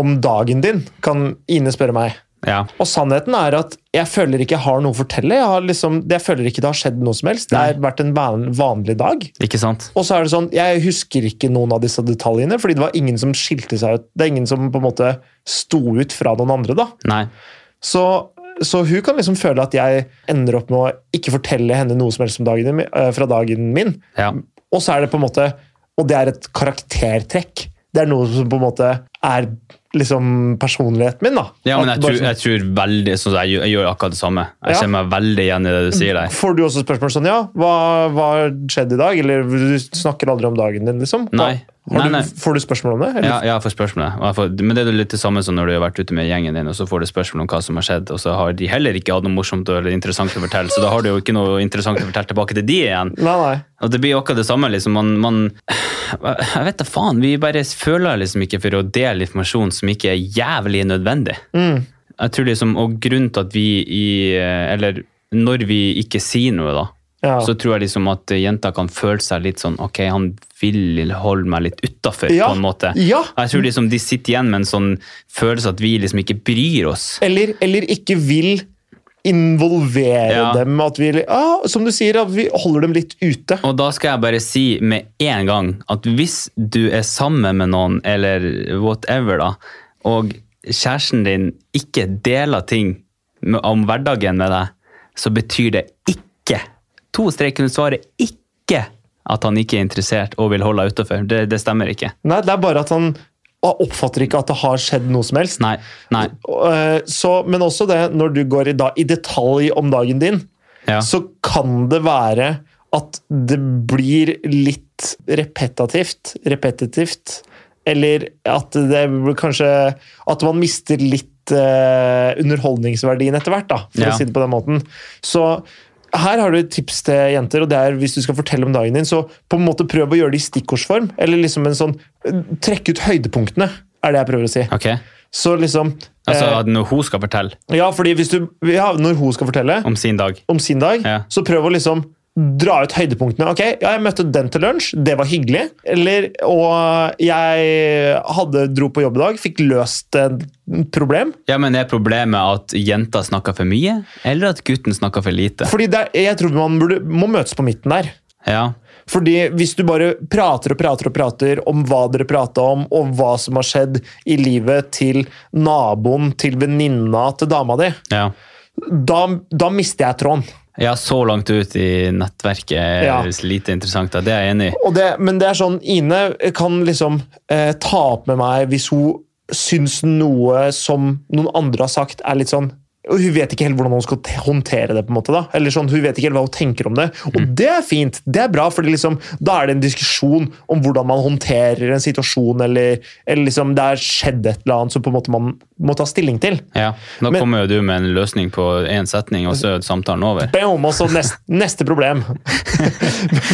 Speaker 2: om dagen din? Kan Ine spørre meg.
Speaker 1: Ja.
Speaker 2: Og sannheten er at jeg føler ikke jeg har noe å fortelle. Jeg, har liksom, jeg føler ikke det har skjedd noe som helst. Det har vært en van, vanlig dag.
Speaker 1: Ikke sant?
Speaker 2: Og så er det sånn, Jeg husker ikke noen av disse detaljene, fordi det var ingen som skilte seg ut. Det er ingen som på en måte sto ut fra noen andre. da.
Speaker 1: Nei.
Speaker 2: Så, så hun kan liksom føle at jeg ender opp med å ikke fortelle henne noe som helst om dagen, eh, fra dagen min.
Speaker 1: Ja.
Speaker 2: Og så er det på en måte Og det er et karaktertrekk. Det er noe som på en måte er liksom personligheten min, da.
Speaker 1: Ja, men
Speaker 2: At
Speaker 1: jeg
Speaker 2: bare
Speaker 1: tror,
Speaker 2: sånn-
Speaker 1: jeg tror veldig, sånn som jeg, gjør- jeg gjør akkurat det samme. Jeg
Speaker 2: Ja.
Speaker 1: kjenner meg veldig igjen i det du sier der.
Speaker 2: Får du også spørsmål sånn Ja, hva, hva skjedde i dag? Eller du snakker aldri om dagen din, liksom? Hva-
Speaker 1: Nei.
Speaker 2: Har
Speaker 1: Nei, nei.
Speaker 2: Du, får du spørsmål om det? Eller?
Speaker 1: Ja, ja, jeg får spørsmålet. Og jeg får, men det er jo litt det samme som når du har vært ute med gjengen din, og så får du spørsmål om hva som har skjedd, og så har de heller ikke hatt noe morsomt eller interessant å fortelle, så da har du jo ikke noe interessant å fortelle tilbake til de igjen.
Speaker 2: Nei, nei.
Speaker 1: Og det blir jo akkurat det samme, liksom. Man, man Jeg vet da faen, vi bare føler liksom ikke for å dele informasjon som ikke er jævlig nødvendig.
Speaker 2: Mm.
Speaker 1: Jeg tror liksom, og grunnen til at vi i Eller når vi ikke sier noe, da,
Speaker 2: Ja.
Speaker 1: så tror jeg liksom at jenter kan føle seg litt sånn Ok, han vil holde meg litt utafor,
Speaker 2: Ja.
Speaker 1: på en måte.
Speaker 2: ja.
Speaker 1: Jeg tror liksom de sitter igjen med en sånn følelse at vi liksom ikke bryr oss.
Speaker 2: Eller, eller ikke vil involvere
Speaker 1: Ja.
Speaker 2: dem. At vi, ja, som du sier, at vi holder dem litt ute.
Speaker 1: Og da skal jeg bare si med en gang at hvis du er sammen med noen, eller whatever, da, og kjæresten din ikke deler ting med, om hverdagen med deg, så betyr det ikke To strek under svaret ikke at han ikke er interessert og vil holde deg utafor. Det, det stemmer ikke.
Speaker 2: Nei, det er bare at han han oppfatter ikke at det har skjedd noe som helst.
Speaker 1: Nei. Nei.
Speaker 2: Eh, Så, men også det, når du går i, da, i detalj om dagen din,
Speaker 1: Ja.
Speaker 2: så kan det være at det blir litt repetativt, repetitivt, eller at det blir kanskje At man mister litt eh, underholdningsverdien etter hvert, da, for
Speaker 1: Ja.
Speaker 2: å si det på den måten. Så her har du et tips til jenter, og det er hvis du skal fortelle om dagen din, så på en måte prøv å gjøre det i stikkordsform, eller liksom en sånn Trekk ut høydepunktene, er det jeg prøver å si.
Speaker 1: Ok?
Speaker 2: Så liksom
Speaker 1: Altså
Speaker 2: eh,
Speaker 1: at når hun skal fortelle
Speaker 2: Ja, fordi hvis du ja, Når hun skal fortelle,
Speaker 1: om sin dag
Speaker 2: om sin dag,
Speaker 1: Ja.
Speaker 2: så prøv å liksom dra ut høydepunktene. Ok, ja, jeg møtte den til lunsj, det var hyggelig. Eller, og jeg hadde, dro på jobb i dag, fikk løst et problem.
Speaker 1: Ja, men Er problemet at jenta snakker for mye, eller at gutten snakker for lite?
Speaker 2: Fordi det, er- jeg tror man burde, må møtes på midten der.
Speaker 1: Ja,
Speaker 2: Fordi hvis du bare prater og prater og prater om hva dere prata om, og hva som har skjedd i livet til naboen, til venninna, til dama di,
Speaker 1: Ja.
Speaker 2: da, da mister jeg tråden.
Speaker 1: ja, så langt ut i nettverket er
Speaker 2: Ja.
Speaker 1: lite interessant. Da. Det er jeg enig i.
Speaker 2: Og det, men det er sånn, Ine kan liksom eh, ta opp med meg hvis hun syns noe som noen andre har sagt, er litt sånn og Hun vet ikke helt hvordan hun skal te- håndtere det. på en måte da, eller sånn, Hun vet ikke helt hva hun tenker om det. Og det er fint, det er bra, for liksom, da er det en diskusjon om hvordan man håndterer en situasjon, eller, eller liksom, det har skjedd et eller annet som på en måte man må ta stilling til.
Speaker 1: Ja. Da
Speaker 2: Men-
Speaker 1: kommer jo du med en løsning på én setning, og så er samtalen over.
Speaker 2: Boom, og så neste, neste problem. <laughs>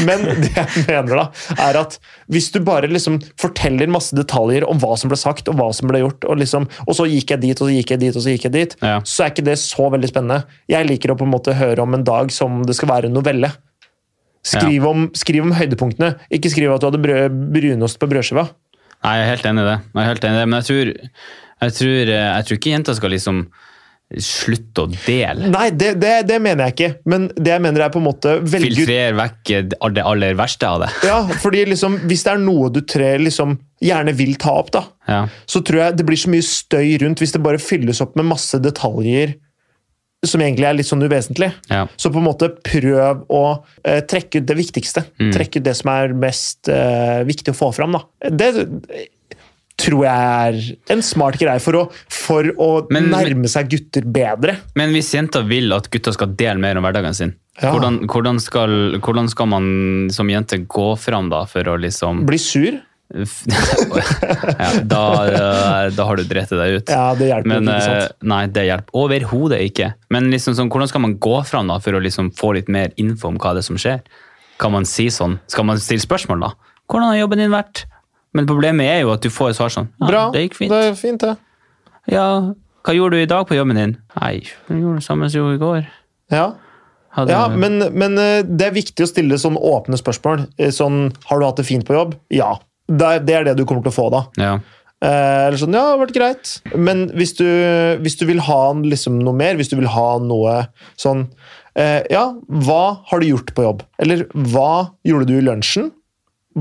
Speaker 2: Men det jeg mener da, er at hvis du bare liksom forteller masse detaljer om hva som ble sagt og hva som ble gjort, og, liksom, og så gikk jeg dit, og så gikk jeg dit, og så gikk jeg dit,
Speaker 1: Ja.
Speaker 2: så er ikke det så veldig spennende. Jeg liker å på en måte høre om en dag som det skal være en novelle. Skriv, om, skriv om høydepunktene, ikke skriv at du hadde brød, brunost på brødskiva.
Speaker 1: Nei, jeg er helt enig i det. Jeg er helt enig i det. Men jeg tror, jeg, tror, eh, jeg tror ikke jenter skal liksom slutte å dele.
Speaker 2: Nei, det, det, det mener jeg ikke, men det jeg mener er på en måte velge ut
Speaker 1: Filtrere vekk det aller verste av det.
Speaker 2: Ja, fordi liksom, hvis det er noe du tre liksom gjerne vil ta opp, da,
Speaker 1: Ja.
Speaker 2: så tror jeg det blir så mye støy rundt hvis det bare fylles opp med masse detaljer som egentlig er litt sånn uvesentlig.
Speaker 1: Ja.
Speaker 2: Så på en måte prøv å eh, trekke ut det viktigste.
Speaker 1: Mm.
Speaker 2: Trekke ut det som er mest eh, viktig å få fram. Da. Det eh, tror jeg er en smart greie for å, for å
Speaker 1: Men-
Speaker 2: nærme seg gutter bedre.
Speaker 1: Men hvis jenter vil at gutter skal dele mer om hverdagen sin,
Speaker 2: Ja.
Speaker 1: hvordan, hvordan, skal, hvordan skal man som jente gå fram da for å liksom
Speaker 2: Bli sur.
Speaker 1: <laughs> ja, da, eh, da har du dreti deg ut.
Speaker 2: Ja, det hjelper
Speaker 1: Men,
Speaker 2: ikke, ikke sant?
Speaker 1: eh, nei, det hjelper overhodet ikke. Men liksom sånn, hvordan skal man gå fram da, for å liksom få litt mer info om hva det er som skjer? Kan man si sånn? Skal man stille spørsmål da? Hvordan har jobben din vært? Men problemet er jo at du får et svar sånn. Ja,
Speaker 2: Bra.
Speaker 1: Det gikk fint.
Speaker 2: Det er fint, det.
Speaker 1: Ja, hva gjorde du i dag på jobben din? Nei, jeg gjorde det samme som jeg gjorde i går.
Speaker 2: Ja.
Speaker 1: Hadde,
Speaker 2: Ja, men, men eh, det er viktig å stille sånn åpne spørsmål. Eh, Sånn, har du hatt det fint på jobb? Ja. Det er, det er det du kommer til å få da.
Speaker 1: Ja.
Speaker 2: Eh, Eller sånn, ja, det har vært greit. Men hvis du, hvis du vil ha liksom noe mer, hvis du vil ha noe sånn eh, Ja, hva har du gjort på jobb? Eller hva gjorde du i lunsjen?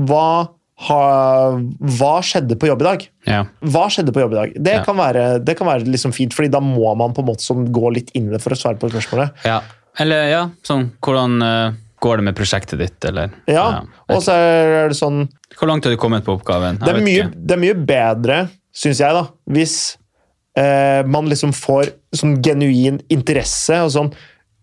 Speaker 2: Hva, har- hva skjedde på jobb i dag?
Speaker 1: Ja.
Speaker 2: Hva skjedde på jobb i dag? Det
Speaker 1: Ja.
Speaker 2: kan være, det kan være liksom fint, fordi da må man på en måte som gå litt inn i det for å svare på spørsmålet.
Speaker 1: ja. Eller ja, sånn, hvordan eh, går det med prosjektet ditt, eller?
Speaker 2: Ja,
Speaker 1: Ja.
Speaker 2: Og så er det sånn
Speaker 1: Hvor langt har du kommet på oppgaven? Jeg
Speaker 2: det er,
Speaker 1: vet
Speaker 2: mye,
Speaker 1: ikke.
Speaker 2: det er mye bedre, syns jeg, da, hvis eh, man liksom får sånn genuin interesse og sånn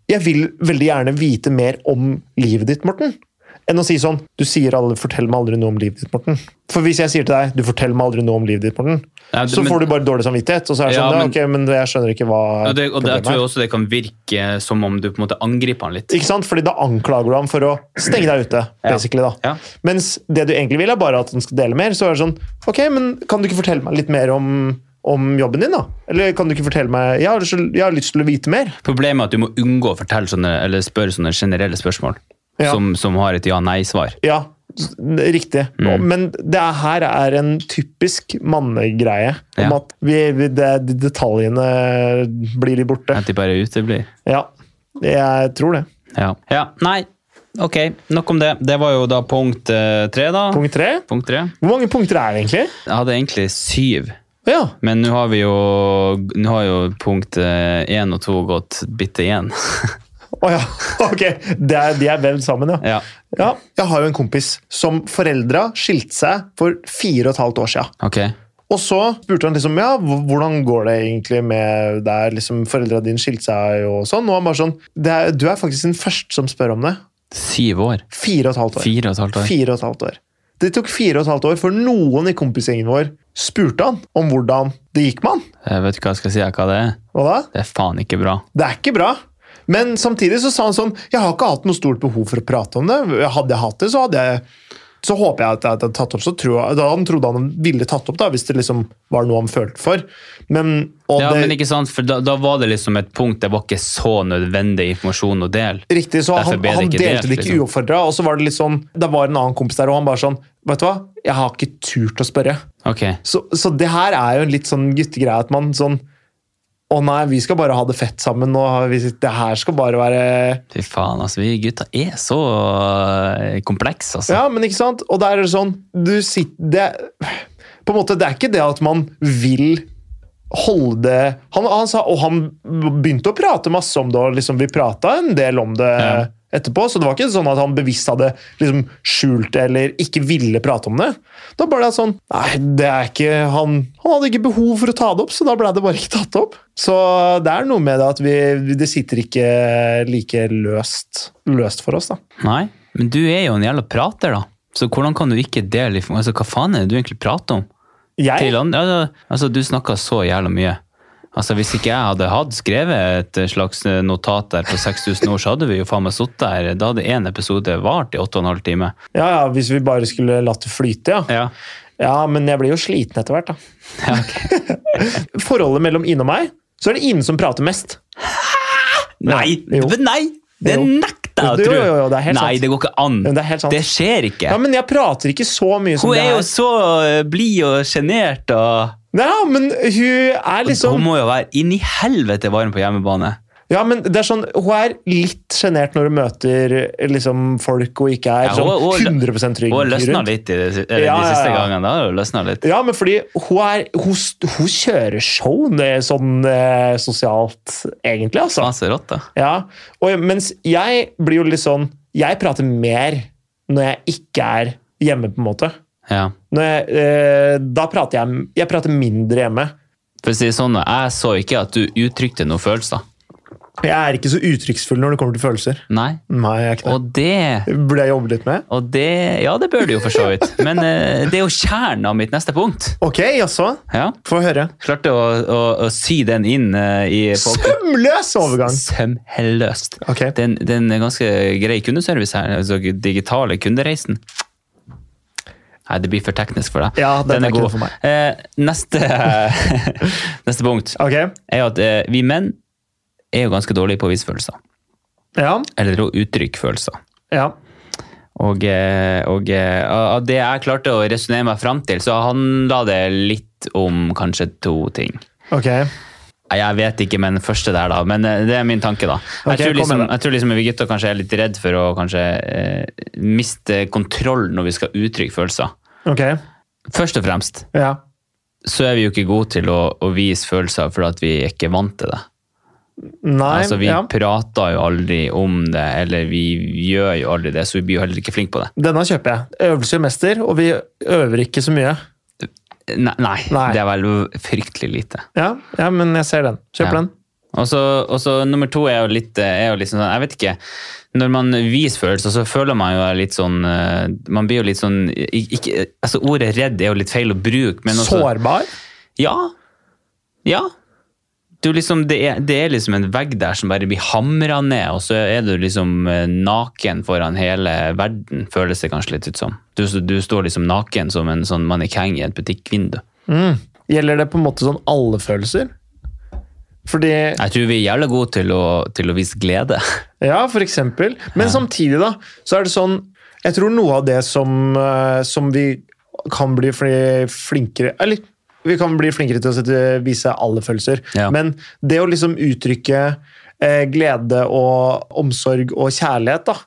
Speaker 2: Jeg vil veldig gjerne vite mer om livet ditt, Morten. Enn å si sånn Du sier alle 'fortell meg aldri noe om livet ditt', Morten. For hvis jeg sier til deg 'du forteller meg aldri noe om livet ditt', Morten,
Speaker 1: Ja,
Speaker 2: så
Speaker 1: men-
Speaker 2: får du bare dårlig samvittighet. Og så er det
Speaker 1: Ja,
Speaker 2: sånn ja,
Speaker 1: men-
Speaker 2: ok, men jeg skjønner ikke hva
Speaker 1: Ja, det, og det, jeg
Speaker 2: problemet
Speaker 1: tror
Speaker 2: er.
Speaker 1: også det kan virke som om du på en måte angriper han litt.
Speaker 2: Ikke sant? Fordi da anklager du ham for å stenge deg ute. basically da.
Speaker 1: Ja.
Speaker 2: Mens det du egentlig vil, er bare at han skal dele mer. Så er det sånn Ok, men kan du ikke fortelle meg litt mer om, om jobben din, da? Eller kan du ikke fortelle meg jeg har, lyst- jeg har lyst til å vite mer.
Speaker 1: Problemet er at du må unngå å fortelle sånne, eller spørre sånne generelle spørsmål
Speaker 2: Ja.
Speaker 1: som, som har et ja-nei-svar.
Speaker 2: Ja, s- riktig.
Speaker 1: Mm.
Speaker 2: Men det er- her er en typisk mannegreie. Om
Speaker 1: Ja.
Speaker 2: at vi, vi, det, de detaljene blir de borte.
Speaker 1: At de bare uteblir.
Speaker 2: Ja, jeg tror det.
Speaker 1: Ja. ja. Nei, ok. Nok om det. Det var jo da punkt eh, tre, da. Punkt.
Speaker 2: Punkt tre.
Speaker 1: tre.
Speaker 2: Hvor mange punkter er det egentlig?
Speaker 1: Jeg hadde egentlig syv.
Speaker 2: Ja,
Speaker 1: Men nå har vi jo Nå har jo punkt eh, én og to gått bitte igjen. <laughs>
Speaker 2: Å ja, <laughs> ok. Det er, de er vevd sammen, ja.
Speaker 1: ja.
Speaker 2: Ja, jeg har jo en kompis som foreldra skilte seg for fire og et halvt år siden.
Speaker 1: Ok.
Speaker 2: Og så spurte han liksom, ja, hv- hvordan går det egentlig med der liksom foreldra dine skilte seg og sånn. Og han bare sånn, det er, du er faktisk den første som spør om det.
Speaker 1: Syv år.
Speaker 2: Fire og et halvt år.
Speaker 1: Fire og et halvt år.
Speaker 2: Fire og et halvt år. Det tok fire og et halvt år før noen i kompisgjengen vår spurte han om hvordan det gikk med han.
Speaker 1: Jeg Eh, vet ikke hva jeg skal si. Hva det er?
Speaker 2: Hva da?
Speaker 1: Det er faen ikke bra.
Speaker 2: Det er ikke bra. Men samtidig så sa han sånn Jeg har ikke hatt noe stort behov for å prate om det. Hadde jeg hatt det, så hadde jeg så håper jeg at jeg hadde tatt opp. så tror jeg, da Han trodde han ville tatt opp, da, hvis det liksom var noe han følte for. Men, og
Speaker 1: Ja,
Speaker 2: det,
Speaker 1: men ikke sant, for da, da var det liksom et punkt det var ikke så nødvendig informasjon å dele.
Speaker 2: Riktig, så
Speaker 1: Derfor
Speaker 2: han,
Speaker 1: ble det
Speaker 2: han
Speaker 1: ikke
Speaker 2: delte
Speaker 1: delt,
Speaker 2: det ikke
Speaker 1: liksom.
Speaker 2: uoppfordra. Og så var det litt sånn, det var en annen kompis der, og han bare sånn Vet du hva, jeg har ikke turt å spørre.
Speaker 1: Ok,
Speaker 2: Så, så det her er jo en litt sånn guttegreie at man sånn Å nei, vi skal bare ha det fett sammen. Nå har vi, det her skal bare være
Speaker 1: Fy faen, altså. Vi gutta er så eh, komplekse, altså.
Speaker 2: Ja, men ikke sant? Og der er det sånn du sitter, det, er- På en måte, det er ikke det at man vil holde han, han sa, Og han begynte å prate masse om det, og liksom, vi prata en del om det
Speaker 1: Ja.
Speaker 2: etterpå. Så det var ikke sånn at han bevisst hadde liksom, skjult det eller ikke ville prate om det. Da ble det sånn Nei, det er ikke han, han hadde ikke behov for å ta det opp, så da ble det bare ikke tatt opp. Så det er noe med det at vi, vi- det sitter ikke like løst, løst for oss, da.
Speaker 1: Nei, men du er jo en jævla prater, da. Så hvordan kan du ikke dele inform- Altså, hva faen er det du egentlig prater om?
Speaker 2: Jeg
Speaker 1: Til andre? Ja, da- Altså, du snakker så jævla mye. Altså, Hvis ikke jeg hadde hatt skrevet et slags notat der på 6000 ord, så hadde vi jo faen meg sittet her. Da hadde én episode vart i 8,5 timer.
Speaker 2: Ja, ja, hvis vi bare skulle latt det flyte, ja.
Speaker 1: Ja.
Speaker 2: Ja, men jeg blir jo sliten etter hvert, da.
Speaker 1: <laughs> Ja, ok.
Speaker 2: <laughs> Forholdet mellom Ine og meg, så er det Ine som prater mest.
Speaker 1: Nei!
Speaker 2: Jo.
Speaker 1: men Nei! Det
Speaker 2: Jo.
Speaker 1: nekter jeg å
Speaker 2: Jo,
Speaker 1: tro!
Speaker 2: jo, jo, jo, det er helt
Speaker 1: Nei,
Speaker 2: sant.
Speaker 1: det går ikke an.
Speaker 2: Ja, Det er helt sant.
Speaker 1: Det skjer ikke.
Speaker 2: Ja, men jeg prater ikke så mye som
Speaker 1: Hun
Speaker 2: det
Speaker 1: er jo
Speaker 2: her.
Speaker 1: så eh, blid og sjenert og
Speaker 2: Ja, men hun er
Speaker 1: Hun
Speaker 2: liksom
Speaker 1: må jo være inn i helvete varm på hjemmebane.
Speaker 2: Ja, men det er sånn, Hun er litt sjenert når hun møter liksom, folk og ikke er
Speaker 1: Ja, hun- hun-
Speaker 2: sånn 100 trygg.
Speaker 1: Hun har løsna
Speaker 2: rundt.
Speaker 1: litt i det, si- eller,
Speaker 2: Ja,
Speaker 1: de
Speaker 2: ja,
Speaker 1: siste
Speaker 2: ja.
Speaker 1: gangene. Da har hun løsnet litt.
Speaker 2: Ja, men fordi hun, er, hun, hun kjører show det er sånn eh, sosialt, egentlig, altså.
Speaker 1: Faen så rått, da.
Speaker 2: Ja, og mens jeg blir jo litt sånn Jeg prater mer når jeg ikke er hjemme, på en måte.
Speaker 1: Ja.
Speaker 2: Når jeg, eh, da prater jeg Jeg prater mindre hjemme.
Speaker 1: For å si det sånn, jeg så ikke at du uttrykte noen følelser.
Speaker 2: Jeg er ikke så uttrykksfull når det kommer til følelser.
Speaker 1: Nei.
Speaker 2: Nei, jeg er ikke det.
Speaker 1: Og det
Speaker 2: Burde jeg jobbe litt med?
Speaker 1: og det, Ja, det bør du jo for så vidt. Men eh, det er jo kjernen av mitt neste punkt.
Speaker 2: Ok, jaså?
Speaker 1: Ja.
Speaker 2: Få høre.
Speaker 1: Klarte å, å, å sy den inn eh, i folk.
Speaker 2: Sømløs overgang!
Speaker 1: Sømhelløst.
Speaker 2: Ok.
Speaker 1: Det er en- det er en ganske grei kundeservice her. Altså digitale kundereisen. Nei, det blir for teknisk for deg.
Speaker 2: Ja, den er ikke
Speaker 1: god.
Speaker 2: noe for meg.
Speaker 1: Eh, neste, neste <laughs> punkt
Speaker 2: Ok,
Speaker 1: er at eh, vi menn er jo ganske dårlige på å vise følelser.
Speaker 2: ja,
Speaker 1: Eller å uttrykke følelser.
Speaker 2: ja.
Speaker 1: Og, eh, og eh, av det jeg klarte å resonnere meg fram til, så handla det litt om kanskje to ting.
Speaker 2: Ok.
Speaker 1: Nei, Jeg vet ikke med den første der, da, men eh, det er min tanke. da. Jeg, tror,
Speaker 2: Ok, kom med
Speaker 1: liksom,
Speaker 2: den.
Speaker 1: jeg tror liksom vi gutter kanskje er litt redd for å kanskje eh, miste kontroll når vi skal uttrykke følelser.
Speaker 2: Ok.
Speaker 1: Først og fremst
Speaker 2: Ja.
Speaker 1: så er vi jo ikke gode til å, å vise følelser fordi at vi er ikke vant til det.
Speaker 2: Nei,
Speaker 1: altså, Vi
Speaker 2: ja.
Speaker 1: prater jo aldri om det, eller vi gjør jo aldri det, så vi blir jo heller ikke flinke på det.
Speaker 2: Denne kjøper jeg. Øvelse gjør mester, og vi øver ikke så mye.
Speaker 1: Nei, nei,
Speaker 2: Nei.
Speaker 1: det er vel fryktelig lite.
Speaker 2: Ja, ja men jeg ser den.
Speaker 1: Ja.
Speaker 2: Kjøp den.
Speaker 1: Og så, og så nummer to er jo litt er jo liksom sånn, Jeg vet ikke. Når man viser følelser, så føler man jo litt sånn eh, Man blir jo litt sånn ikke, altså Ordet redd er jo litt feil å bruke, men også
Speaker 2: Sårbar?
Speaker 1: Ja. Ja. Du liksom, det, er, det er liksom en vegg der som bare blir hamra ned, og så er du liksom eh, naken foran hele verden, føles det kanskje litt ut som. Du, du står liksom naken som en sånn mannekeng i et butikkvindu.
Speaker 2: Mm. Gjelder det på en måte sånn alle følelser? Fordi
Speaker 1: Jeg tror vi er jævla gode til å, til å vise glede.
Speaker 2: Ja, for eksempel. Men samtidig, da, så er det sånn Jeg tror noe av det som, eh, som vi kan bli fli- flinkere Eller vi kan bli flinkere til å sette, vise alle følelser,
Speaker 1: Ja.
Speaker 2: men det å liksom uttrykke eh, glede og omsorg og kjærlighet, da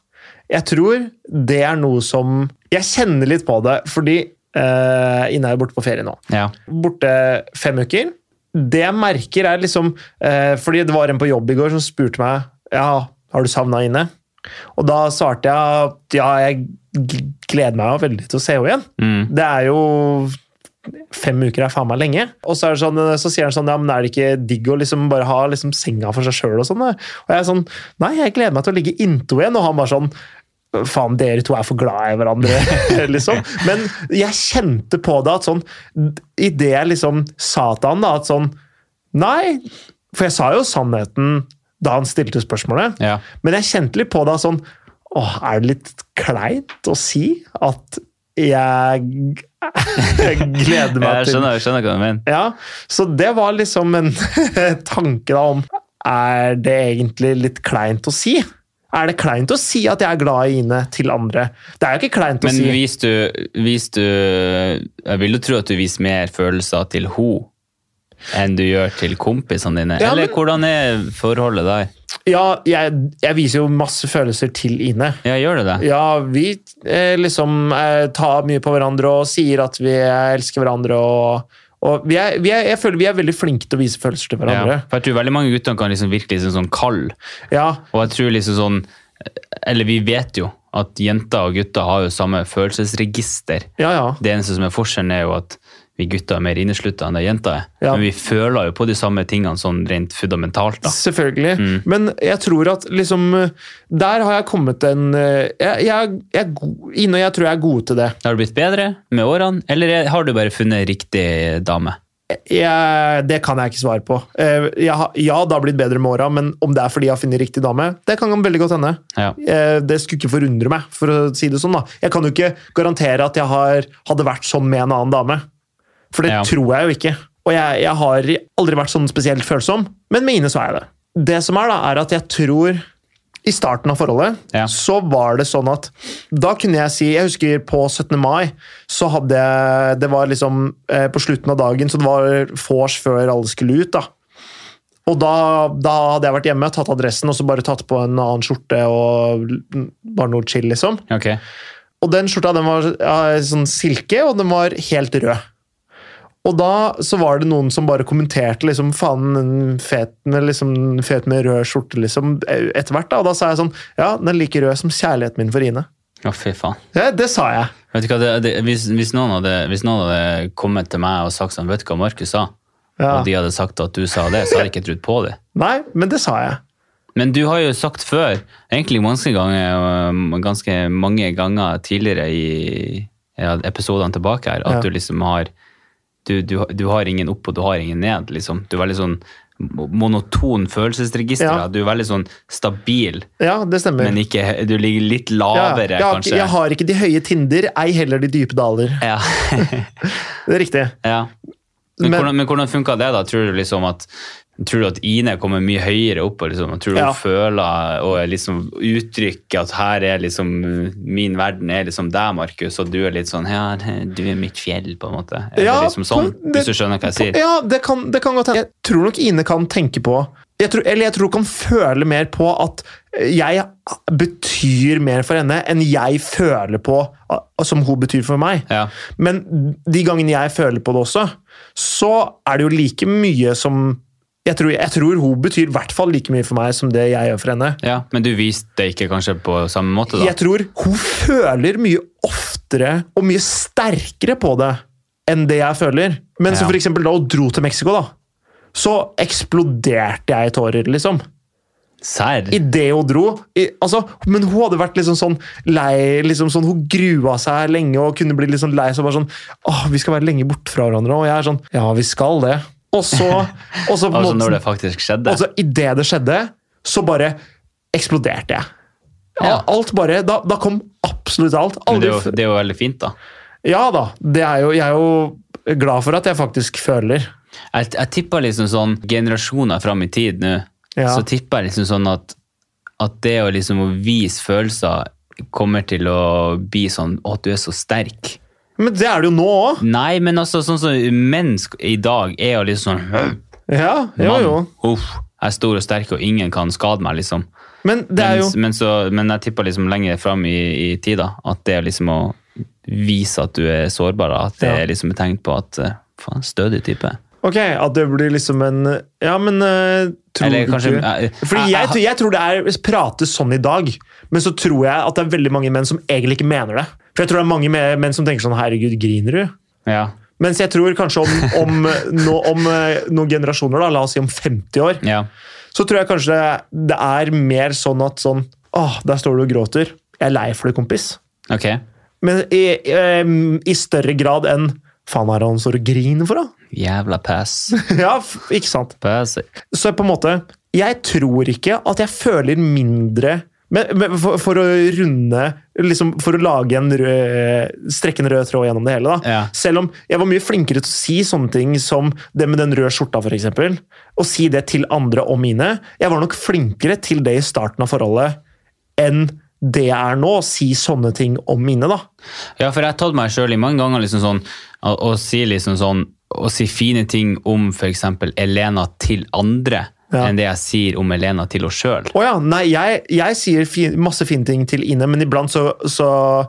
Speaker 2: Jeg tror det er noe som Jeg kjenner litt på det, fordi eh, Ine er jo borte på ferie nå
Speaker 1: Ja.
Speaker 2: borte fem uker. Det jeg merker er liksom eh, Fordi det var en på jobb i går som spurte meg ja, har du savna Ine. Og da svarte jeg at ja, jeg g- gleder meg jo veldig til å se henne igjen.
Speaker 1: Mm.
Speaker 2: Det er jo Fem uker er faen meg lenge. Og så, er det sånn, så sier han sånn ja, men er det ikke digg å liksom bare ha liksom senga for seg sjøl og sånn? da?» Og jeg er sånn nei, jeg gleder meg til å ligge innto igjen. Og han bare sånn faen, dere to er for glad i hverandre, <laughs> liksom. Men jeg kjente på det at sånn Idet jeg liksom sa til han da at sånn Nei, for jeg sa jo sannheten da han stilte spørsmålet.
Speaker 1: Ja.
Speaker 2: Men jeg kjente litt på det sånn Åh, er det litt kleint å si at jeg, <laughs> jeg gleder meg
Speaker 1: Jeg
Speaker 2: til
Speaker 1: skjønner, jeg skjønner hva du mener.
Speaker 2: Ja, Så det var liksom en <laughs> tanke da om Er det egentlig litt kleint å si? Er det kleint å si at jeg er glad i Ine til andre? Det er jo ikke kleint å
Speaker 1: Men
Speaker 2: si.
Speaker 1: vis du, vis du Jeg vil jo tro at du viser mer følelser til ho enn du gjør til kompisene dine?
Speaker 2: Ja,
Speaker 1: Eller
Speaker 2: men-
Speaker 1: hvordan er forholdet der?
Speaker 2: Ja, jeg, jeg viser jo masse følelser til Ine.
Speaker 1: Ja, gjør du det?
Speaker 2: Ja, vi eh, liksom eh, tar mye på hverandre og sier at vi eh, elsker hverandre og, og vi er, vi er, Jeg føler vi er veldig flinke til å vise følelser til hverandre.
Speaker 1: Ja, for jeg tror veldig mange gutter kan liksom virke liksom sånn kald.
Speaker 2: Ja,
Speaker 1: Og jeg tror liksom sånn Eller vi vet jo at jenter og gutter har jo samme følelsesregister.
Speaker 2: ja. ja.
Speaker 1: Det eneste som er forskjellen, er jo at vi gutter er mer inneslutta enn det jenter er.
Speaker 2: Ja.
Speaker 1: Men vi føler jo på de samme tingene sånn rent fundamentalt, da.
Speaker 2: Selvfølgelig. Men jeg tror at liksom Der har jeg kommet en eh, jeg, jeg, jeg, er god- Ine og jeg tror jeg er gode til det.
Speaker 1: Har du blitt bedre med årene, eller er- har du bare funnet riktig dame?
Speaker 2: Jeg, det kan jeg ikke svare på. Eh, Jeg, har- ja, det har blitt bedre med åra, men om det er fordi jeg har funnet riktig dame, det kan veldig godt hende.
Speaker 1: Ja.
Speaker 2: Eh, Det skulle ikke forundre meg, for å si det sånn. da. Jeg kan jo ikke garantere at jeg har, hadde vært sånn med en annen dame. For det
Speaker 1: Ja.
Speaker 2: tror jeg jo ikke. Og jeg, jeg har aldri vært sånn spesielt følsom, men med Ine så er jeg det. Det som er, da, er at jeg tror i starten av forholdet
Speaker 1: Ja.
Speaker 2: så var det sånn at da kunne jeg si Jeg husker på 17. mai, så hadde jeg Det var liksom eh, på slutten av dagen, så det var vors før alle skulle ut, da. Og da, da hadde jeg vært hjemme, tatt adressen og så bare tatt på en annen skjorte og l- bare noe chill, liksom.
Speaker 1: Ok.
Speaker 2: Og den skjorta den var ja, sånn silke, og den var helt rød. Og da så var det noen som bare kommenterte liksom, faen, den feten, liksom, den feten med rød skjorte, liksom, etter hvert. da. Og da sa jeg sånn, ja, den er like rød som kjærligheten min for Ine.
Speaker 1: Å, fy faen.
Speaker 2: Ja, det sa jeg.
Speaker 1: Vet du hva, det, det, hvis, hvis, noen hadde, hvis noen hadde kommet til meg og sagt sånn, vet du hva Markus sa?
Speaker 2: Ja.
Speaker 1: Og de hadde sagt at du sa det, så hadde jeg ikke trodd på det.
Speaker 2: Nei, men det sa jeg.
Speaker 1: Men du har jo sagt før, egentlig ganske, ganger, øhm, ganske mange ganger tidligere i ja, episodene tilbake her, at
Speaker 2: Ja.
Speaker 1: du liksom har du, du, du har ingen opp og du har ingen ned, liksom. Du er veldig sånn mo- monoton følelsesregister.
Speaker 2: Ja.
Speaker 1: da. Du er veldig sånn stabil,
Speaker 2: Ja, det stemmer.
Speaker 1: men ikke, hø- du ligger litt
Speaker 2: ja,
Speaker 1: lavere,
Speaker 2: jeg, har, ikke-
Speaker 1: kanskje.
Speaker 2: jeg har ikke de høye tinder, ei heller de dype daler.
Speaker 1: Ja. <laughs>
Speaker 2: Det er riktig.
Speaker 1: ja. Men,
Speaker 2: Men-
Speaker 1: hvordan, men hvordan funka det, da? Tror du liksom at Tror du at Ine kommer mye høyere opp og liksom, tror du hun
Speaker 2: Ja.
Speaker 1: føler og liksom uttrykker at her er liksom min verden er liksom deg, Markus, og du er litt sånn her, du er mitt fjell, på en måte. Er
Speaker 2: Ja,
Speaker 1: det liksom sånn,
Speaker 2: på- det-
Speaker 1: hvis du skjønner hva jeg sier?
Speaker 2: Ja, det kan, det kan godt hende. Jeg tror nok Ine kan tenke på jeg tror, Eller jeg tror hun kan føle mer på at jeg betyr mer for henne enn jeg føler på ah, som hun betyr for meg.
Speaker 1: Ja.
Speaker 2: Men de gangene jeg føler på det også, så er det jo like mye som Jeg tror, jeg tror hun betyr i hvert fall like mye for meg som det jeg gjør for henne.
Speaker 1: ja, Men du viste det ikke kanskje på samme måte, da?
Speaker 2: Jeg tror hun føler mye oftere og mye sterkere på det enn det jeg føler. Men så
Speaker 1: Ja.
Speaker 2: for eksempel da hun dro til Mexico, da, så eksploderte jeg i tårer, liksom.
Speaker 1: Serr?
Speaker 2: Idet hun dro. I, altså, men hun hadde vært liksom sånn lei liksom sånn, Hun grua seg lenge og kunne bli litt sånn lei. Så bare sånn Åh, vi skal være lenge borte fra hverandre. Og jeg er sånn Ja, vi skal det. Og så, og
Speaker 1: <laughs>
Speaker 2: så på en
Speaker 1: Altså
Speaker 2: måte-
Speaker 1: når det faktisk skjedde?
Speaker 2: og så idet det skjedde, så bare eksploderte jeg.
Speaker 1: Ja.
Speaker 2: Alt bare, da, da kom absolutt alt.
Speaker 1: Men det
Speaker 2: Aldri,
Speaker 1: er, jo, det er jo veldig fint, da.
Speaker 2: ja da, det er jo, jeg er jo glad for at jeg faktisk føler.
Speaker 1: Jeg, jeg tipper liksom sånn generasjoner fram i tid nå,
Speaker 2: Ja.
Speaker 1: så tipper jeg liksom sånn at, at det å liksom å vise følelser kommer til å bli sånn «Å, at du er så sterk.
Speaker 2: Men det er det jo nå òg.
Speaker 1: Nei, men altså sånn som mennesk i dag er jo liksom sånn «Hø,
Speaker 2: Ja, jo,
Speaker 1: mann,
Speaker 2: jo.
Speaker 1: Uff, jeg er stor og sterk, og ingen kan skade meg, liksom.
Speaker 2: Men det er jo
Speaker 1: Mens- men, så, men jeg tipper liksom lenger fram i, i tida at det er liksom å vise at du er sårbar, da, at det
Speaker 2: Ja.
Speaker 1: er liksom et tegn på at eh, faen, stødig type.
Speaker 2: Ok, at det blir liksom en Ja, men eh, tror
Speaker 1: Eller
Speaker 2: du
Speaker 1: kanskje-
Speaker 2: ikke
Speaker 1: eh, jeg-
Speaker 2: Fordi jeg, tror- jeg tror det er prates sånn i dag, men så tror jeg at det er veldig mange menn som egentlig ikke mener det. For jeg tror det er mange me- menn som tenker sånn Herregud, griner du?
Speaker 1: Ja,
Speaker 2: Mens jeg tror kanskje om, om, nå, om eh, noen generasjoner, da, la oss si om 50 år,
Speaker 1: ja.
Speaker 2: så tror jeg kanskje det, det er mer sånn at sånn Åh, der står du og gråter. Jeg er lei for det, kompis.
Speaker 1: Ok.
Speaker 2: Men i, em, i større grad enn Faen, hva er det han står og griner for, da?
Speaker 1: Jævla pass.
Speaker 2: ja, f- ikke sant?
Speaker 1: Pass.
Speaker 2: Så på en måte Jeg tror ikke at jeg føler mindre men, men for, for å runde liksom For å lage en rød, strekke en rød tråd gjennom det hele. da.
Speaker 1: Ja.
Speaker 2: Selv om jeg var mye flinkere til å si sånne ting som det med den røde skjorta, for eksempel, og si det til andre og mine. Jeg var nok flinkere til det i starten av forholdet enn det jeg er nå. Å si sånne ting om mine, da.
Speaker 1: Ja, for jeg har tatt meg sjøl i mange ganger liksom sånn, og, og sier liksom sånn å si fine ting om f.eks. Elena til andre,
Speaker 2: Ja.
Speaker 1: enn det jeg sier om Elena til oss sjøl.
Speaker 2: Å ja, nei, jeg, jeg sier fi, masse fine ting til Ine, men iblant så, så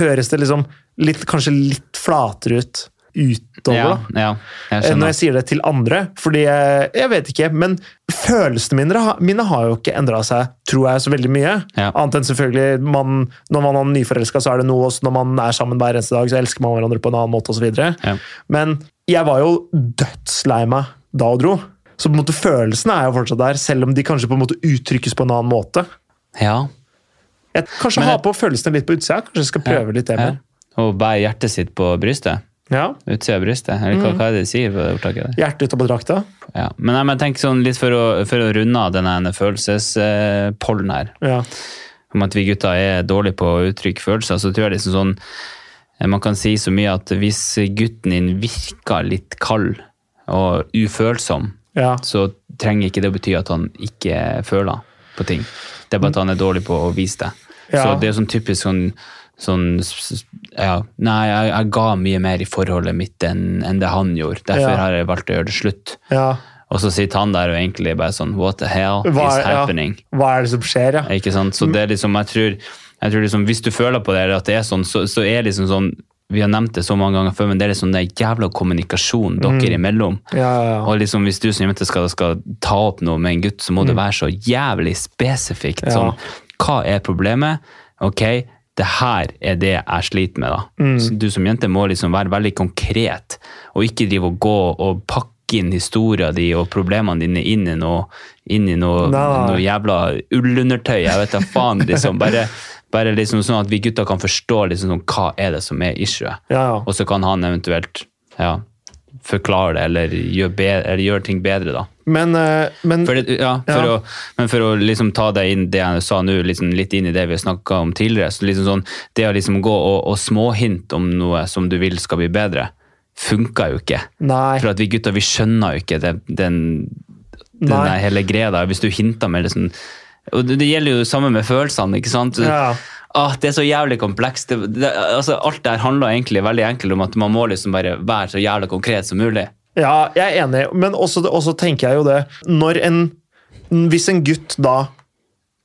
Speaker 2: høres det liksom litt, kanskje litt flatere ut utover.
Speaker 1: Ja,
Speaker 2: da.
Speaker 1: ja, jeg
Speaker 2: enn Eh, Når
Speaker 1: skjønner.
Speaker 2: jeg sier det til andre, fordi jeg, jeg vet ikke, men følelsene mine, har- mine har jo ikke endra seg, tror jeg, så veldig mye.
Speaker 1: Ja.
Speaker 2: Annet enn selvfølgelig, man, når man er nyforelska, så er det noe, og så når man er sammen hver eneste dag, så elsker man hverandre på en annen måte, osv. videre.
Speaker 1: Ja.
Speaker 2: Men jeg var jo dødslei meg da og dro. Så på en måte følelsene er jo fortsatt der, selv om de kanskje på en måte uttrykkes på en annen måte.
Speaker 1: Ja,
Speaker 2: Jeg kanskje
Speaker 1: Men
Speaker 2: ha
Speaker 1: jeg-
Speaker 2: på følelsene litt på utsida. Kanskje jeg skal prøve litt det
Speaker 1: ja.
Speaker 2: mer.
Speaker 1: Og bærer hjertet sitt på brystet.
Speaker 2: Ja.
Speaker 1: Utsida av brystet. Eller hva, hva er det de sier på det ordtaket? der?
Speaker 2: Hjertet ut av drakta.
Speaker 1: Ja. Men jeg, men jeg tenker sånn litt for å, for å runde av denne følelsespollen eh, her,
Speaker 2: Ja.
Speaker 1: om at vi gutter er dårlige på å uttrykke følelser, så tror jeg liksom sånn eh, Man kan si så mye at hvis gutten din virker litt kald og ufølsom,
Speaker 2: ja.
Speaker 1: så trenger ikke det å bety at han ikke føler på ting. Det er bare at han er dårlig på å vise det. Så
Speaker 2: Ja.
Speaker 1: det er jo sånn typisk sånn, sånn s- s- ja, Nei, jeg, jeg ga mye mer i forholdet mitt enn enn det han gjorde. Derfor
Speaker 2: Ja.
Speaker 1: har jeg valgt å gjøre det slutt.
Speaker 2: ja.
Speaker 1: Og så sitter han der og egentlig bare sånn What the hell
Speaker 2: Hva,
Speaker 1: is
Speaker 2: er, ja.
Speaker 1: happening?
Speaker 2: Hva er det som skjer, ja? Mm.
Speaker 1: Ikke sant? Så det er liksom, jeg tror, jeg tror liksom, hvis du føler på det, eller at det er sånn, så, så er liksom sånn Vi har nevnt det så mange ganger før, men det er liksom den jævla kommunikasjonen dere imellom.
Speaker 2: Mm. Ja, ja, ja.
Speaker 1: Og liksom Hvis du som jente skal, skal ta opp noe med en gutt, så må det være så jævlig spesifikt.
Speaker 2: Mm. Ja.
Speaker 1: Sånn, hva er problemet? Ok, det her er det jeg sliter med, da.
Speaker 2: Mm.
Speaker 1: Så du som jente må liksom være veldig konkret, og ikke drive og gå og pakke inn historien din og problemene dine inn i noe, inn i noe,
Speaker 2: Nei, nei.
Speaker 1: noe jævla ullundertøy. Jeg vet da faen, liksom. Bare, bare liksom sånn at vi gutter kan forstå liksom sånn, hva er det som er issuet.
Speaker 2: Ja, ja.
Speaker 1: Og så kan han eventuelt ja, forklare det, eller gjøre, be eller gjøre ting bedre, da.
Speaker 2: Men, eh, men
Speaker 1: For, det, ja, for
Speaker 2: Ja.
Speaker 1: Å, men for å liksom ta deg inn det jeg sa nå, liksom litt inn i det vi har snakka om tidligere så liksom sånn, Det å liksom gå og, og småhinte om noe som du vil skal bli bedre, funker jo ikke.
Speaker 2: Nei.
Speaker 1: For at vi gutter vi skjønner jo ikke det, den, den
Speaker 2: Nei.
Speaker 1: der hele greia der, hvis du hinter med liksom og det, det gjelder jo det samme med følelsene. ikke sant?
Speaker 2: Ja.
Speaker 1: Ah, det er så jævlig komplekst. Det, det, altså, alt det her handler egentlig veldig enkelt om at man må liksom bare være så jævlig konkret som mulig.
Speaker 2: Ja, jeg er enig, men også, også tenker jeg jo det Når en Hvis en gutt da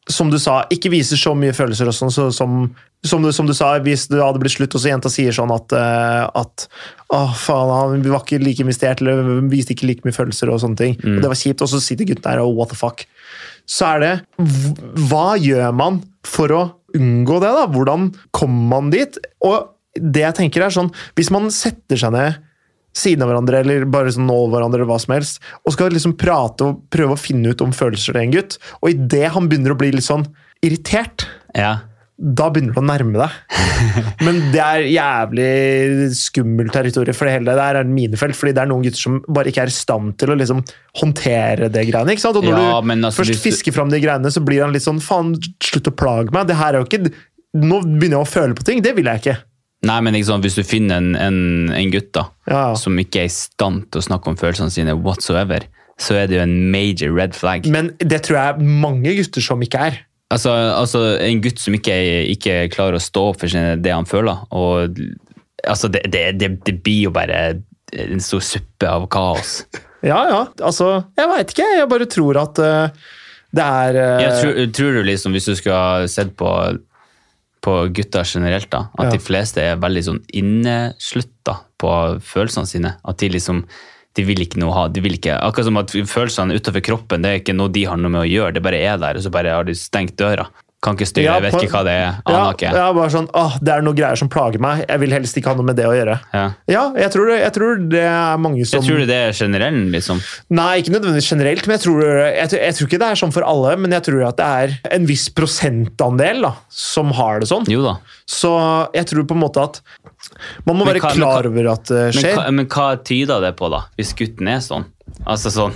Speaker 2: som du sa, ikke viser så mye følelser og sånn, så, som, som, du, som du sa, hvis det hadde blitt slutt, og så jenta sier sånn at, eh, at Å, faen, han var ikke like investert, eller viste ikke like mye følelser og sånne ting. Og det var kjipt, og så sitter gutten der og what the fuck. Så er det hv- Hva gjør man for å unngå det, da? Hvordan kommer man dit? Og det jeg tenker er sånn Hvis man setter seg ned siden av hverandre, eller bare sånn nå hverandre, eller hva som helst, og skal liksom prate og prøve å finne ut om følelser til en gutt, og idet han begynner å bli litt sånn irritert,
Speaker 1: Ja.
Speaker 2: da begynner du å nærme deg.
Speaker 1: <laughs>
Speaker 2: Men det er jævlig skummelt territorium, for det hele det er et minefelt, fordi det er noen gutter som bare ikke er i stand til å liksom håndtere det greiene, ikke sant? Og når
Speaker 1: Ja,
Speaker 2: du
Speaker 1: men altså,
Speaker 2: først
Speaker 1: hvis du-
Speaker 2: fisker fram de greiene, så blir han litt sånn, faen, slutt å plage meg, det her er jo ikke... Nå begynner jeg å føle på ting, det vil jeg ikke.
Speaker 1: Nei, men ikke sant, Hvis du finner en, en, en gutt da,
Speaker 2: Ja, ja.
Speaker 1: som ikke er i stand til å snakke om følelsene sine whatsoever, så er det jo en major red flag.
Speaker 2: Men det tror jeg er mange gutter som ikke er.
Speaker 1: Altså, altså En gutt som ikke, er- ikke klarer å stå opp for sine, det han føler. og altså, det, det, det, det blir jo bare en stor suppe av kaos.
Speaker 2: Ja, ja. Altså, jeg veit ikke. Jeg bare tror at eh, det er eh,
Speaker 1: Jeg tror, tror du liksom, Hvis du skulle ha sett på, på gutter generelt, da, at
Speaker 2: Ja.
Speaker 1: de fleste er veldig sånn inneslutta på følelsene sine. At de liksom de vil ikke noe ha, de vil ikke, Akkurat som at følelsene utenfor kroppen det er ikke noe de har noe med å gjøre. Det bare er der, og så bare har de stengt døra. Kan ikke styre,
Speaker 2: Ja,
Speaker 1: jeg vet
Speaker 2: på-
Speaker 1: ikke hva det er.
Speaker 2: ja,
Speaker 1: Aner ikke.
Speaker 2: ja, bare sånn Åh, det er noen greier som plager meg. Jeg vil helst ikke ha noe med det å gjøre.
Speaker 1: Ja.
Speaker 2: Ja, jeg tror det, jeg tror det er mange som
Speaker 1: Jeg tror det er generell, liksom.
Speaker 2: Nei, ikke nødvendigvis generelt, men jeg tror, jeg, tror- jeg tror ikke det er sånn for alle. Men jeg tror at det er en viss prosentandel da, som har det sånn.
Speaker 1: Jo da.
Speaker 2: Så jeg tror på en måte at man må
Speaker 1: Men
Speaker 2: være
Speaker 1: hva- men
Speaker 2: klar over at det
Speaker 1: Men
Speaker 2: skjer.
Speaker 1: hva, men hva tyder det på, da? Hvis gutten er sånn? Altså sånn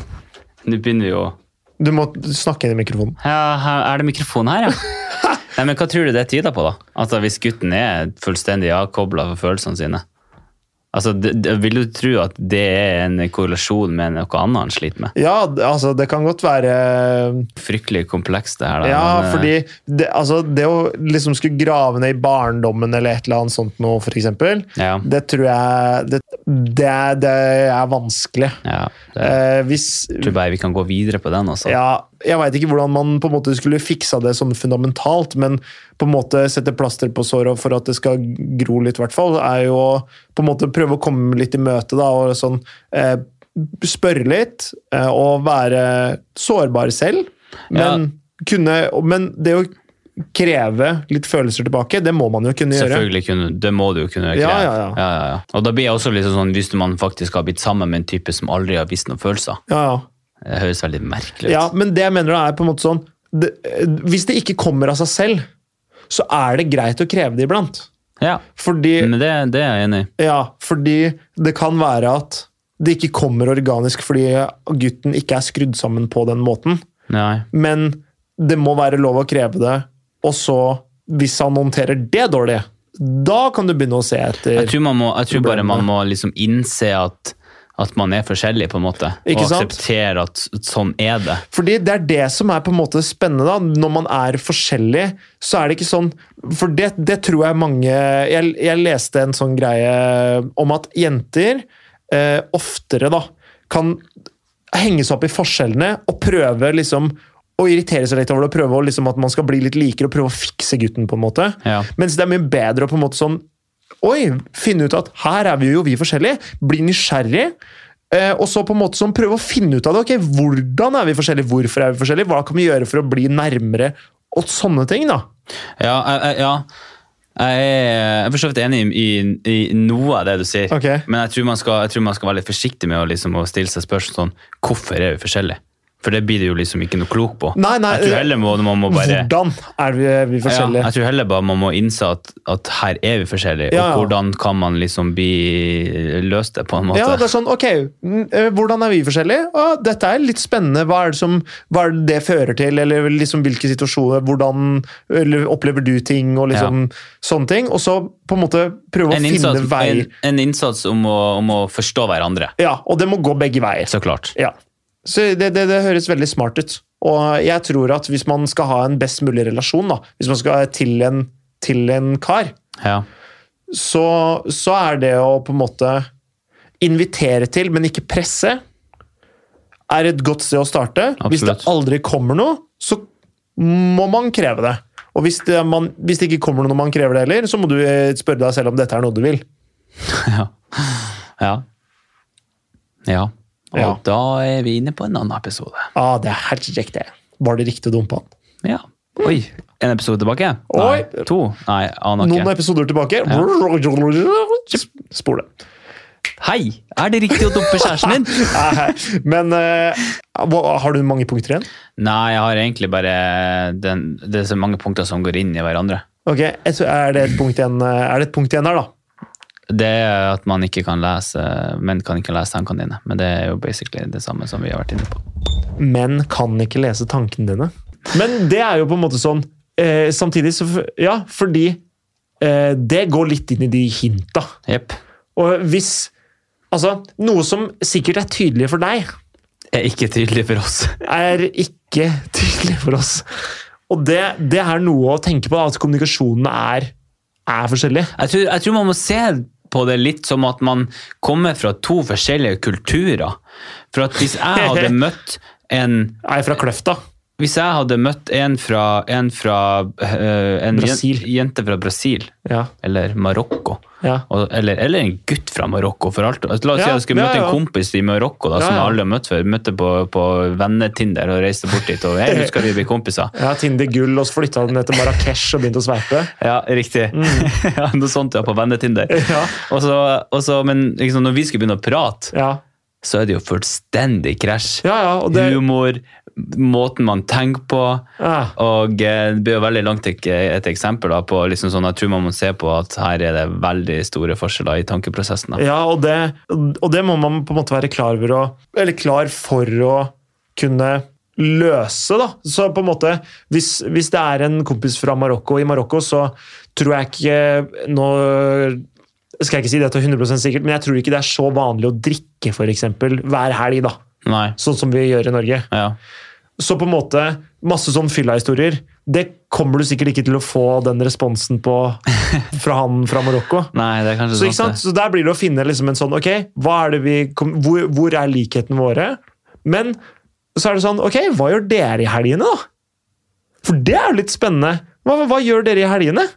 Speaker 1: Nå begynner vi jo
Speaker 2: Du må snakke inn i mikrofonen.
Speaker 1: Ja, her er det mikrofon her,
Speaker 2: <laughs>
Speaker 1: ja. Nei, men Hva tror du det tyder på, da? Altså, Hvis gutten er fullstendig avkobla for følelsene sine? Altså, det, det, vil du tro at det er en korrelasjon med noe annet han sliter med?
Speaker 2: Ja, d- altså, det kan godt være eh,
Speaker 1: Fryktelig komplekst, det her. Da.
Speaker 2: Ja,
Speaker 1: men, eh,
Speaker 2: fordi det, altså, det å liksom skulle grave ned i barndommen eller et eller annet sånt noe, for eksempel,
Speaker 1: ja,
Speaker 2: det tror jeg Det, det, er- det er vanskelig.
Speaker 1: ja, det,
Speaker 2: Eh, hvis
Speaker 1: jeg tror bare vi kan gå videre på den. altså. Også.
Speaker 2: ja, Jeg veit ikke hvordan man på en måte skulle fiksa det sånn fundamentalt, men på en måte sette plaster på såret for at det skal gro litt, i hvert fall, er jo å på en måte prøve å komme litt i møte da, og sånn eh, Spørre litt eh, og være sårbar selv, men, kunne, men det å kreve litt følelser tilbake, det må man jo kunne gjøre.
Speaker 1: Selvfølgelig kunne, det må du jo kunne kreve.
Speaker 2: Ja, ja, ja.
Speaker 1: Og da blir jeg også liksom sånn, hvis man faktisk har blitt sammen med en type som aldri har vist noen følelser.
Speaker 2: Ja, ja.
Speaker 1: Det høres veldig merkelig ut.
Speaker 2: Ja, men det jeg mener da er på en måte sånn det, eh, Hvis det ikke kommer av seg selv, så er det greit å kreve det iblant.
Speaker 1: Ja,
Speaker 2: Fordi,
Speaker 1: Men det, det er jeg enig i.
Speaker 2: ja, fordi det kan være at det ikke kommer organisk fordi gutten ikke er skrudd sammen på den måten.
Speaker 1: Nei.
Speaker 2: Men det må være lov å kreve det, og så, hvis han håndterer det dårlig, da kan du begynne å se etter.
Speaker 1: Jeg tror, man må, jeg tror bare man må liksom innse at, at man er forskjellig, på en måte.
Speaker 2: Ikke
Speaker 1: og
Speaker 2: sant?
Speaker 1: akseptere at sånn er det.
Speaker 2: Fordi det er det som er på en måte spennende. da. Når man er forskjellig, så er det ikke sånn For det, det tror jeg mange jeg, jeg leste en sånn greie om at jenter eh, oftere da kan henge seg opp i forskjellene og prøve liksom å irritere seg litt over det, og prøve å liksom at man skal bli litt likere og prøve å fikse gutten. på en måte.
Speaker 1: Ja.
Speaker 2: Mens det er mye bedre å på en måte sånn Oi! Finne ut at her er vi jo vi forskjellige. Bli nysgjerrig. eh, Og så på en måte sånn prøve å finne ut av det. ok, Hvordan er vi forskjellige? Hvorfor er vi forskjellige? Hva kan vi gjøre for å bli nærmere? Og sånne ting, da.
Speaker 1: Ja, jeg, jeg, ja. jeg er- jeg er for så vidt enig i, i, i noe av det du sier.
Speaker 2: Ok.
Speaker 1: Men jeg tror, man skal, jeg tror man skal være litt forsiktig med å, liksom, å stille seg spørsmål sånn Hvorfor er vi forskjellige? For det blir du jo liksom ikke noe klok på.
Speaker 2: Nei, nei,
Speaker 1: jeg tror heller må, man må bare
Speaker 2: Hvordan er vi, vi
Speaker 1: Ja,
Speaker 2: forskjellige?
Speaker 1: jeg tror heller bare man må innse at, at her er vi forskjellige,
Speaker 2: Ja, ja.
Speaker 1: og hvordan kan man liksom bli løst det, på en måte.
Speaker 2: Ja, det er sånn, ok, mm, eh, Hvordan er vi forskjellige? Å, dette er litt spennende. Hva er det som, hva er det, det fører til? Eller liksom hvilke situasjoner? Hvordan eller, opplever du ting? Og liksom sånne ting. Og så på en måte prøve å
Speaker 1: en,
Speaker 2: finne
Speaker 1: innsats,
Speaker 2: vei.
Speaker 1: en, en innsats om å, om å forstå hverandre,
Speaker 2: Ja, og det må gå begge veier.
Speaker 1: så klart.
Speaker 2: Ja. Så det, det, det høres veldig smart ut. Og jeg tror at hvis man skal ha en best mulig relasjon, da, hvis man skal til en, til en kar,
Speaker 1: Ja.
Speaker 2: så, så er det å på en måte invitere til, men ikke presse, er et godt sted å starte. Hvis det
Speaker 1: Absolutt.
Speaker 2: aldri kommer noe, så må man kreve det. Og hvis det, man, hvis det ikke kommer noe når man krever det heller, så må du eh, spørre deg selv om dette er noe du vil.
Speaker 1: Ja. Ja. ja. Og
Speaker 2: Ja.
Speaker 1: da er vi inne på en annen episode.
Speaker 2: Ah, det er helt riktig. Var det riktig å dumpe han?
Speaker 1: Ja. Oi, en episode tilbake?
Speaker 2: Oi.
Speaker 1: Nei, to? Nei, aner
Speaker 2: Noen
Speaker 1: ikke.
Speaker 2: episoder tilbake. Spole.
Speaker 1: Hei! Er det riktig å dumpe kjæresten din?
Speaker 2: Nei, Men eh, hva- har du mange punkter igjen?
Speaker 1: Nei, jeg har egentlig bare den, Det er så mange punkter som går inn i hverandre.
Speaker 2: Ok, jeg tror- Er det et punkt igjen, eh, er det et punkt igjen her, da?
Speaker 1: Det er at man ikke kan lese Menn kan ikke lese tankene dine. Men det er jo basically det samme som vi har vært inne på.
Speaker 2: Menn kan ikke lese tankene dine. Men det er jo på en måte sånn eh, Samtidig så f- Ja, fordi eh, det går litt inn i de hinta.
Speaker 1: Jepp.
Speaker 2: Og hvis Altså, noe som sikkert er tydelig for deg,
Speaker 1: Er ikke tydelig for oss.
Speaker 2: er ikke <laughs> tydelig for oss. Og det, det er noe å tenke på, da, at kommunikasjonen er, er forskjellig.
Speaker 1: Jeg tror, jeg tror man må se på det litt som at man kommer fra to forskjellige kulturer. For at hvis jeg
Speaker 2: <laughs>
Speaker 1: hadde møtt en
Speaker 2: Er jeg fra Kløfta?
Speaker 1: Hvis jeg hadde møtt en fra, en fra øh, en jen-
Speaker 2: Brasil.
Speaker 1: jente fra Brasil,
Speaker 2: Ja.
Speaker 1: eller Marokko,
Speaker 2: ja.
Speaker 1: og, eller, eller en gutt fra Marokko for alt. La oss si
Speaker 2: Ja,
Speaker 1: jeg skulle
Speaker 2: ja,
Speaker 1: møtt
Speaker 2: ja.
Speaker 1: en kompis i Marokko da, som
Speaker 2: Ja, ja.
Speaker 1: jeg aldri har møtt før. Møtte på, på vennetinder og reiste bort dit. og
Speaker 2: <laughs>
Speaker 1: Jeg husker vi ble kompiser.
Speaker 2: Jeg har Tinder gull, og så flytta den ned til Marrakech og begynte å sveipe.
Speaker 1: Ja, riktig. Mm. <laughs> ja, noe sånt ja, på vennetinder.
Speaker 2: <laughs> Ja.
Speaker 1: Og så- og så- men liksom, når vi skulle begynne å prate,
Speaker 2: Ja,
Speaker 1: så er det jo fullstendig krasj.
Speaker 2: ja, ja og det
Speaker 1: Humor, måten man tenker på.
Speaker 2: ja.
Speaker 1: Og eh, det blir jo veldig langt ek- et eksempel da, på liksom sånn, jeg tror man må se på at her er det veldig store forskjeller i tankeprosessen. Da.
Speaker 2: ja og, det, og det må man på en måte være klar over å Eller klar for å kunne løse, da. Så på en måte Hvis, hvis det er en kompis fra Marokko i Marokko, så tror jeg ikke Nå skal jeg ikke si dette er 100 sikkert, men jeg tror ikke det er så vanlig å drikke for eksempel, hver helg, da.
Speaker 1: Nei.
Speaker 2: sånn som vi gjør i Norge.
Speaker 1: Ja.
Speaker 2: Så på en måte, masse sånn fylla-historier, det kommer du sikkert ikke til å få den responsen på fra han fra Marokko.
Speaker 1: Nei, det er kanskje sånn
Speaker 2: Så, ikke
Speaker 1: sant,
Speaker 2: sant?
Speaker 1: det.
Speaker 2: så der blir det å finne liksom en sånn Ok, hva er det vi, kom- hvor, hvor er likhetene våre? Men så er det sånn Ok, hva gjør dere i helgene, da? For det er jo litt spennende. Hva, hva gjør dere i helgene?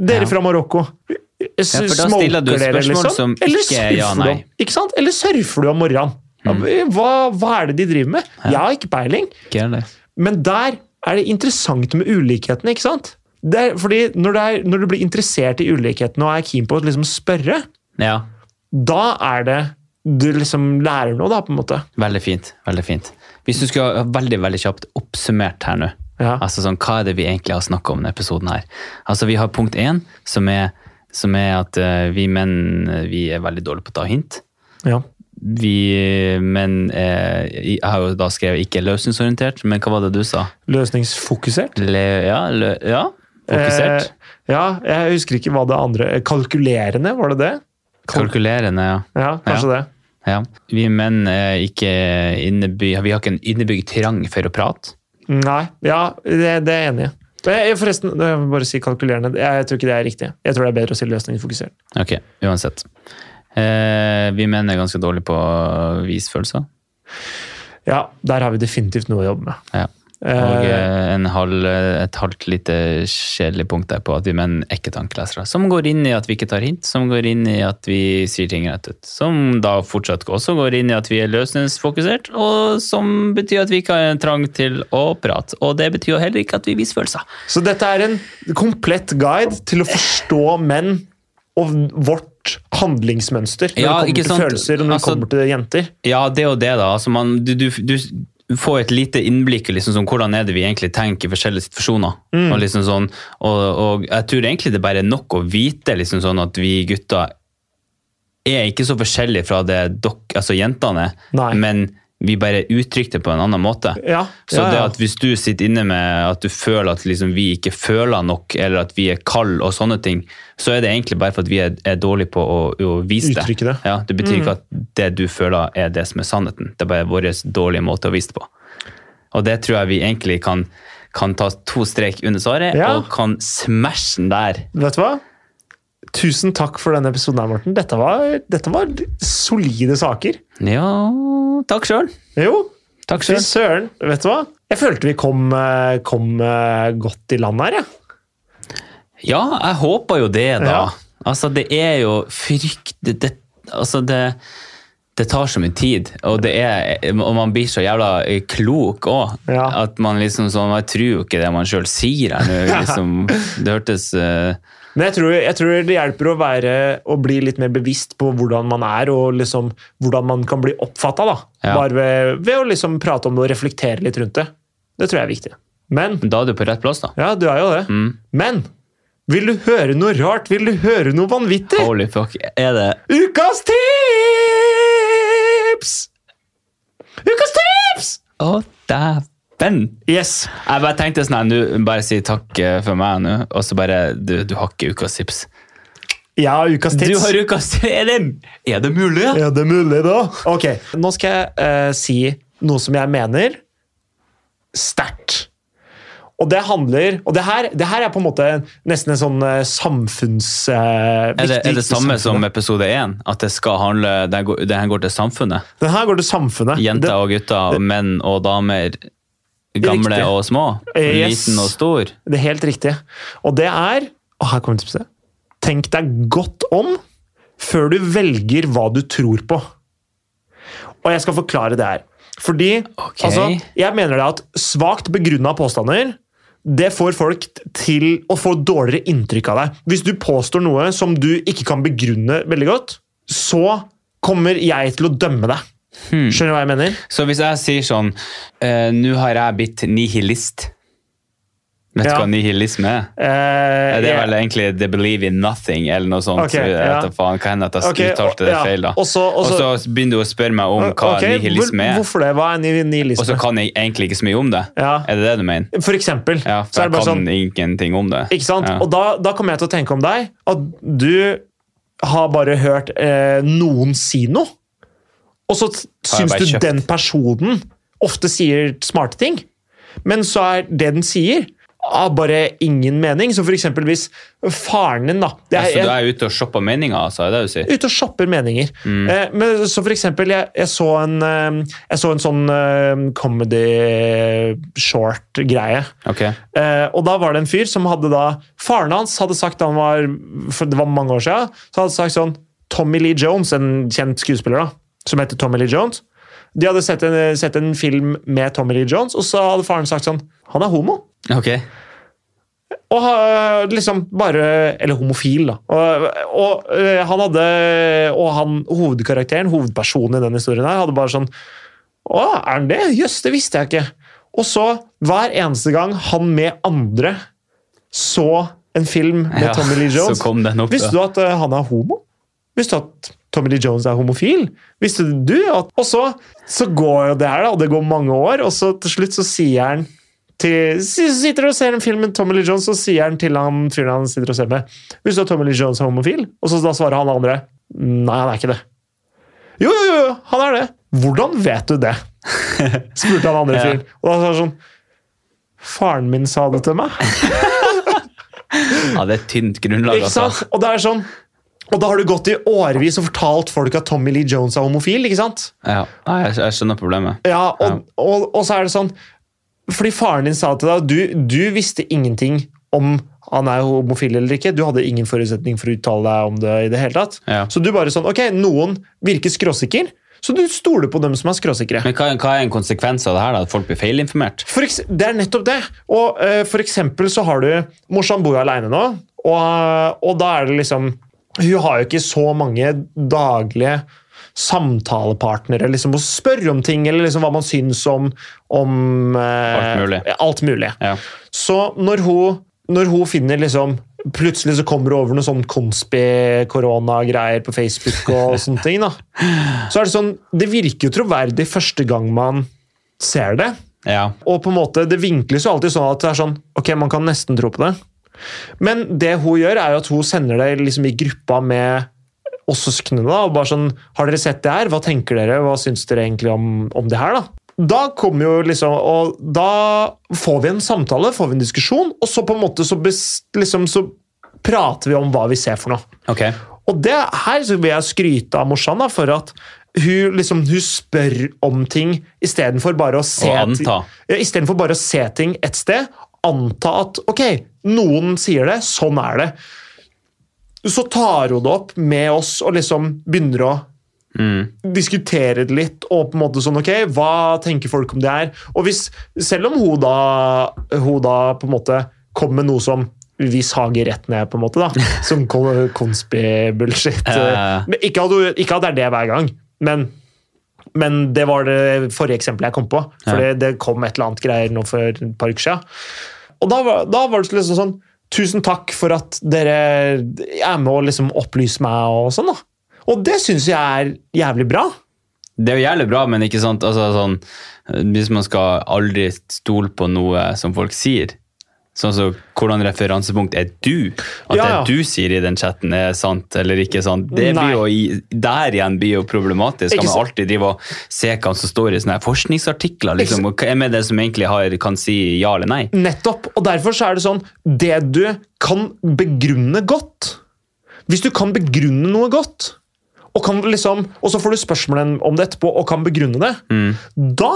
Speaker 2: Dere
Speaker 1: Ja.
Speaker 2: fra Marokko. S-
Speaker 1: Ja, for da
Speaker 2: smoker
Speaker 1: stiller du et
Speaker 2: dere, liksom?
Speaker 1: spørsmål som
Speaker 2: Eller
Speaker 1: ikke er ja,
Speaker 2: surfer du om-
Speaker 1: nei. Mm.
Speaker 2: Ikke sant? Eller surfer du om morgenen? Hva, hva er det de driver med? Jeg har ikke peiling.
Speaker 1: Ikke heller.
Speaker 2: Men der er det interessant med ulikhetene, ikke sant? Det er, fordi når, det er, når du blir interessert i ulikhetene og er keen på å liksom spørre,
Speaker 1: Ja.
Speaker 2: da er det du liksom lærer noe, da, på en måte.
Speaker 1: Veldig fint. veldig fint. Hvis du skulle ha veldig veldig kjapt oppsummert her nå,
Speaker 2: Ja.
Speaker 1: altså sånn, hva er det vi egentlig har snakka om i denne episoden? her? Altså Vi har punkt én, som er, som er at eh, vi menn eh, vi er veldig dårlige på å ta hint.
Speaker 2: Ja.
Speaker 1: Vi menn eh, jeg har jo da skrevet ikke løsningsorientert, men hva var det du sa?
Speaker 2: Løsningsfokusert.
Speaker 1: Le, ja, lø, ja, fokusert.
Speaker 2: Eh, ja, jeg husker ikke hva det andre Kalkulerende, var det det?
Speaker 1: Kalkulerende, ja.
Speaker 2: Ja, kanskje det.
Speaker 1: ja. Vi menn er ikke innebyg, vi har ikke en innebygd trang for å prate.
Speaker 2: Mm, Nei. Ja, det, det er jeg enig i. Eh, Forresten, jeg må bare si kalkulerende. Jeg tror ikke det er riktig. Jeg tror det er bedre å si løsningsfokusert.
Speaker 1: Ok, uansett. Eh, vi menn er ganske dårlige på å vise følelser.
Speaker 2: Ja, der har vi definitivt noe å jobbe med.
Speaker 1: Ja. Og eh, en halv, et halvt lite kjedelig punkt der på at vi menn er ikke tankelesere. Som går inn i at vi ikke tar hint, som går inn i at vi sier ting rett ut. Som da fortsatt også går inn i at vi er løsningsfokusert, og som betyr at vi ikke har en trang til å prate. Og det betyr jo heller ikke at vi viser følelser.
Speaker 2: Så dette er en komplett guide til å forstå menn og vårt handlingsmønster når
Speaker 1: Ja,
Speaker 2: det
Speaker 1: ikke
Speaker 2: kommer til
Speaker 1: sant?
Speaker 2: følelser og når
Speaker 1: Altså-
Speaker 2: det kommer til jenter.
Speaker 1: Ja, det og det, da. Altså man, du, du, du får et lite innblikk i liksom, sånn, hvordan er det vi egentlig tenker i forskjellige situasjoner. Og, liksom sånn, og, og jeg tror egentlig det bare er nok å vite liksom, sånn at vi gutter er ikke så forskjellige fra det dok, altså jentene er,
Speaker 2: Nei.
Speaker 1: men vi bare uttrykker det på en annen måte.
Speaker 2: Ja,
Speaker 1: Så
Speaker 2: ja,
Speaker 1: det
Speaker 2: ja.
Speaker 1: at hvis du sitter inne med at du føler at liksom vi ikke føler nok, eller at vi er kald og sånne ting, så er det egentlig bare for at vi er, er dårlige på å, å vise det.
Speaker 2: Uttrykke det. Mm.
Speaker 1: Ja, det betyr ikke at det du føler er det som er sannheten. Det er bare vår dårlige måte å vise det på. Og det tror jeg vi egentlig kan, kan ta to strek under svaret,
Speaker 2: Ja.
Speaker 1: og kan smashe den der.
Speaker 2: Vet du hva? Tusen takk for denne episoden, her, Morten. Dette var, dette var solide saker.
Speaker 1: Ja, takk sjøl.
Speaker 2: Jo,
Speaker 1: Takk
Speaker 2: fy
Speaker 1: sjøl.
Speaker 2: søren. Vet du hva? Jeg følte vi kom, eh, kom eh, godt i land her, jeg. Ja.
Speaker 1: Ja, jeg håper jo det, da.
Speaker 2: Ja.
Speaker 1: Altså, det er jo frykt... Det, det, altså, det, det tar så mye tid, og, det er, og man blir så jævla eh, klok òg.
Speaker 2: Ja.
Speaker 1: At man liksom sånn Jeg tror jo ikke det man sjøl sier her nå.
Speaker 2: <laughs>
Speaker 1: Liksom, det hørtes eh,
Speaker 2: Men jeg tror, jeg tror det hjelper å, være, å bli litt mer bevisst på hvordan man er, og liksom, hvordan man kan bli oppfatta.
Speaker 1: Ja.
Speaker 2: Bare ved, ved å liksom prate om det og reflektere litt rundt det. Det tror jeg er viktig. Men
Speaker 1: Da er du på rett plass, da.
Speaker 2: Ja, du er jo det. Men vil du høre noe rart? Vil du høre noe vanvittig?
Speaker 1: Holy fuck. Er det
Speaker 2: Ukas tips! Ukas tips!
Speaker 1: Å, dæven!
Speaker 2: Yes.
Speaker 1: Jeg bare tenkte sånn her, nå bare si takk eh, for meg nå, og så bare Du, du har ikke ukas tips.
Speaker 2: Jeg har ukas
Speaker 1: Du
Speaker 2: tips.
Speaker 1: har ukas <laughs> Er det, er det mulig? Ja?
Speaker 2: Er det mulig, da? Ok, Nå skal jeg eh, si noe som jeg mener sterkt. Og det handler Og det her, det her er på en måte nesten en sånn eh, samfunns... eh,
Speaker 1: Er det,
Speaker 2: viktig-
Speaker 1: er det
Speaker 2: viktig
Speaker 1: samme som
Speaker 2: samfunnet.
Speaker 1: episode én? At det skal handle, det her går, det her går til samfunnet?
Speaker 2: Den her går til samfunnet.
Speaker 1: Jenter
Speaker 2: Den-
Speaker 1: og gutter, menn og damer. Gamle
Speaker 2: Riktig.
Speaker 1: og små.
Speaker 2: Yes.
Speaker 1: Liten og stor.
Speaker 2: Det er helt riktig. Og det er og her kommer tipset. Tenk deg godt om før du velger hva du tror på. Og jeg skal forklare det her. Fordi
Speaker 1: Ok.
Speaker 2: altså, jeg mener det at svakt begrunna påstander det får folk til å få dårligere inntrykk av deg. Hvis du påstår noe som du ikke kan begrunne veldig godt, så kommer jeg til å dømme deg.
Speaker 1: Hmm.
Speaker 2: Skjønner du hva jeg mener?
Speaker 1: Så hvis jeg sier sånn eh, Nå har jeg blitt nihilist. Vet du
Speaker 2: Ja.
Speaker 1: hva nihilisme er?
Speaker 2: Eh,
Speaker 1: Er Det er
Speaker 2: jeg-
Speaker 1: vel egentlig the believe in nothing, eller noe sånt.
Speaker 2: Ok,
Speaker 1: jeg
Speaker 2: ja.
Speaker 1: vet da faen, Hva hender at jeg
Speaker 2: Ok, og-
Speaker 1: uttalte det
Speaker 2: ja.
Speaker 1: feil, da?
Speaker 2: Og så-
Speaker 1: Og
Speaker 2: og så-
Speaker 1: så begynner du å spørre meg om hva
Speaker 2: Ok, hvor-
Speaker 1: nihilisme er,
Speaker 2: Hvorfor det? Hva er ni- nihilisme?
Speaker 1: og så kan jeg egentlig ikke så mye om det.
Speaker 2: Ja.
Speaker 1: Er det det du mener?
Speaker 2: For eksempel.
Speaker 1: Ja,
Speaker 2: så
Speaker 1: for
Speaker 2: er
Speaker 1: jeg
Speaker 2: det bare
Speaker 1: kan
Speaker 2: sånn,
Speaker 1: ingenting om det.
Speaker 2: ikke sant?
Speaker 1: Ja.
Speaker 2: Og da, da kommer jeg til å tenke om deg at du har bare hørt eh, noen si noe. Og så t-
Speaker 1: Har jeg
Speaker 2: syns
Speaker 1: bare
Speaker 2: du
Speaker 1: kjøpt.
Speaker 2: den personen ofte sier smarte ting, men så er det den sier, har bare ingen mening. Så for eksempel hvis faren din, da det
Speaker 1: Så Altså, du er ute og shopper meninger, altså? Er Mm. det det du sier?
Speaker 2: ute og shopper meninger. Eh, men så for eksempel, jeg, jeg, så en, eh, jeg så en sånn eh, comedy short-greie.
Speaker 1: Ok.
Speaker 2: Eh, og da var det en fyr som hadde da Faren hans hadde sagt da han var For det var mange år siden. Så hadde han sagt sånn Tommy Lee Jones, en kjent skuespiller da, som heter Tommy Lee Jones. De hadde sett en, sett en film med Tommy Lee Jones, og så hadde faren sagt sånn Han er homo.
Speaker 1: Ok.
Speaker 2: Og ha- liksom bare Eller homofil, da. Og, og eh, han hadde Og han hovedkarakteren, hovedpersonen i den historien her, hadde bare sånn Å, er han det? Jøss, det visste jeg ikke. Og så, hver eneste gang han med andre så en film med
Speaker 1: Ja,
Speaker 2: Tommy Lee
Speaker 1: så
Speaker 2: Jones
Speaker 1: kom den opp,
Speaker 2: Visste du
Speaker 1: da.
Speaker 2: at eh, han er homo? Visste du at Tommy Lee Jones er homofil? Visste du at Og så, så går jo det her, da, og det går mange år, og så til slutt så sier han til, si- sitter og ser en film med Tommy Lee Jones, og sier han til han fyren han sitter og ser med Visste du at Tommy Lee Jones er homofil? Og så da svarer han andre Nei, han er ikke det. Jo, jo, jo, han er det. Hvordan vet du det? spurte han andre
Speaker 1: Ja.
Speaker 2: fyren. Og da sa han sånn Faren min sa det til meg.
Speaker 1: Ja, det er et tynt grunnlag,
Speaker 2: Ikke
Speaker 1: altså.
Speaker 2: sant? Og det er sånn og da har du gått i årevis og fortalt folk at Tommy Lee Jones er homofil. ikke sant?
Speaker 1: Ja, Nei, jeg, jeg skjønner problemet.
Speaker 2: Ja, og, og, og så er det sånn Fordi faren din sa til deg at du, du visste ingenting om han er homofil eller ikke. Du hadde ingen forutsetning for å uttale deg om det i det hele tatt.
Speaker 1: Ja.
Speaker 2: Så du bare sånn Ok, noen virker skråsikker, så du stoler på dem som er skråsikre.
Speaker 1: Men hva, hva er en konsekvens av det her, da? At folk blir feilinformert?
Speaker 2: For eks- det er nettopp det. Og eh, for eksempel så har du Morsan bor jo aleine nå, og, og da er det liksom Hun har jo ikke så mange daglige samtalepartnere liksom, å spørre om ting, eller liksom hva man syns om, om eh,
Speaker 1: Alt mulig.
Speaker 2: Alt mulig.
Speaker 1: Ja.
Speaker 2: Så når hun, når hun finner liksom Plutselig så kommer hun over noen sånn konspi-korona-greier på Facebook.
Speaker 1: <laughs>
Speaker 2: og sånne ting da. Så er Det sånn, det virker jo troverdig første gang man ser det.
Speaker 1: Ja.
Speaker 2: Og på en måte, det vinkles jo alltid sånn at det er sånn, ok, man kan nesten tro på det. Men det hun gjør er jo at hun sender det liksom i gruppa med oss søsknene da, og bare sånn, har dere sett det her? Hva tenker dere? Hva syns dere egentlig om, om det her da? Da kommer jo liksom, og da får vi en samtale, får vi en diskusjon, og så på en måte så, bes, liksom, så prater vi om hva vi ser for noe.
Speaker 1: Ok.
Speaker 2: Og det her så vil jeg skryte av morsan da, for at hun, liksom, hun spør om ting istedenfor bare å se
Speaker 1: Og anta.
Speaker 2: ti- Ja, Istedenfor bare å se ting et sted. Anta at ok, noen sier det, sånn er det. Så tar hun det opp med oss og liksom begynner å
Speaker 1: Mm.
Speaker 2: diskutere det litt. og på en måte sånn, ok, Hva tenker folk om det her? Og hvis, Selv om hun da, hun da på en måte kom med noe som vi sager rett ned, på en måte,
Speaker 1: <laughs>
Speaker 2: da, som kon- konspi-bullshit.
Speaker 1: Ja.
Speaker 2: Men ikke at, hun- ikke at det er det hver gang, men, men det var det forrige eksempelet jeg kom på. For det, det kom et eller annet greier nå for et par uker siden. Og da var, da var det liksom sånn Tusen takk for at dere er med og liksom opplyser meg og sånn, da. Og det syns jeg er jævlig bra.
Speaker 1: Det er jo jævlig bra, men ikke sant, altså, sånn, hvis man skal aldri stole på noe som folk sier, sånn som hvordan referansepunkt er du, at
Speaker 2: Ja, ja.
Speaker 1: det du sier i den chatten er sant eller ikke sant, det
Speaker 2: Nei.
Speaker 1: blir jo, i- der igjen blir jo problematisk.
Speaker 2: Ikke
Speaker 1: Skal man
Speaker 2: sant?
Speaker 1: alltid drive og se hva som står i sånne her forskningsartikler, liksom, og hva er med det som egentlig har, kan si ja eller nei?
Speaker 2: Nettopp. Og derfor så er det sånn Det du kan begrunne godt Hvis du kan begrunne noe godt, og, kan liksom, og så får du spørsmål om det etterpå og kan begrunne det, da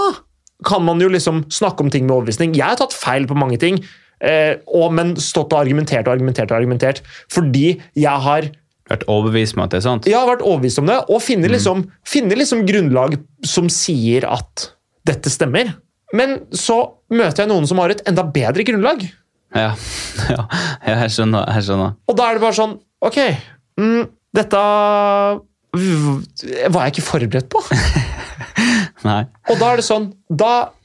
Speaker 2: kan man jo liksom snakke om ting med overbevisning. Jeg har tatt feil på mange ting, eh, og, men stått og argumentert og argumentert og argumentert fordi jeg har
Speaker 1: Vært overbevist med at det er sant?
Speaker 2: Jeg har vært overbevist om det, og finner liksom, finner liksom grunnlag som sier at dette stemmer. Men så møter jeg noen som har et enda bedre grunnlag.
Speaker 1: Ja, <laughs> ja. ja jeg skjønner, jeg skjønner.
Speaker 2: Og da er det bare sånn Ok, mm, dette v- var jeg ikke forberedt på.
Speaker 1: Nei.
Speaker 2: Og da er det sånn Da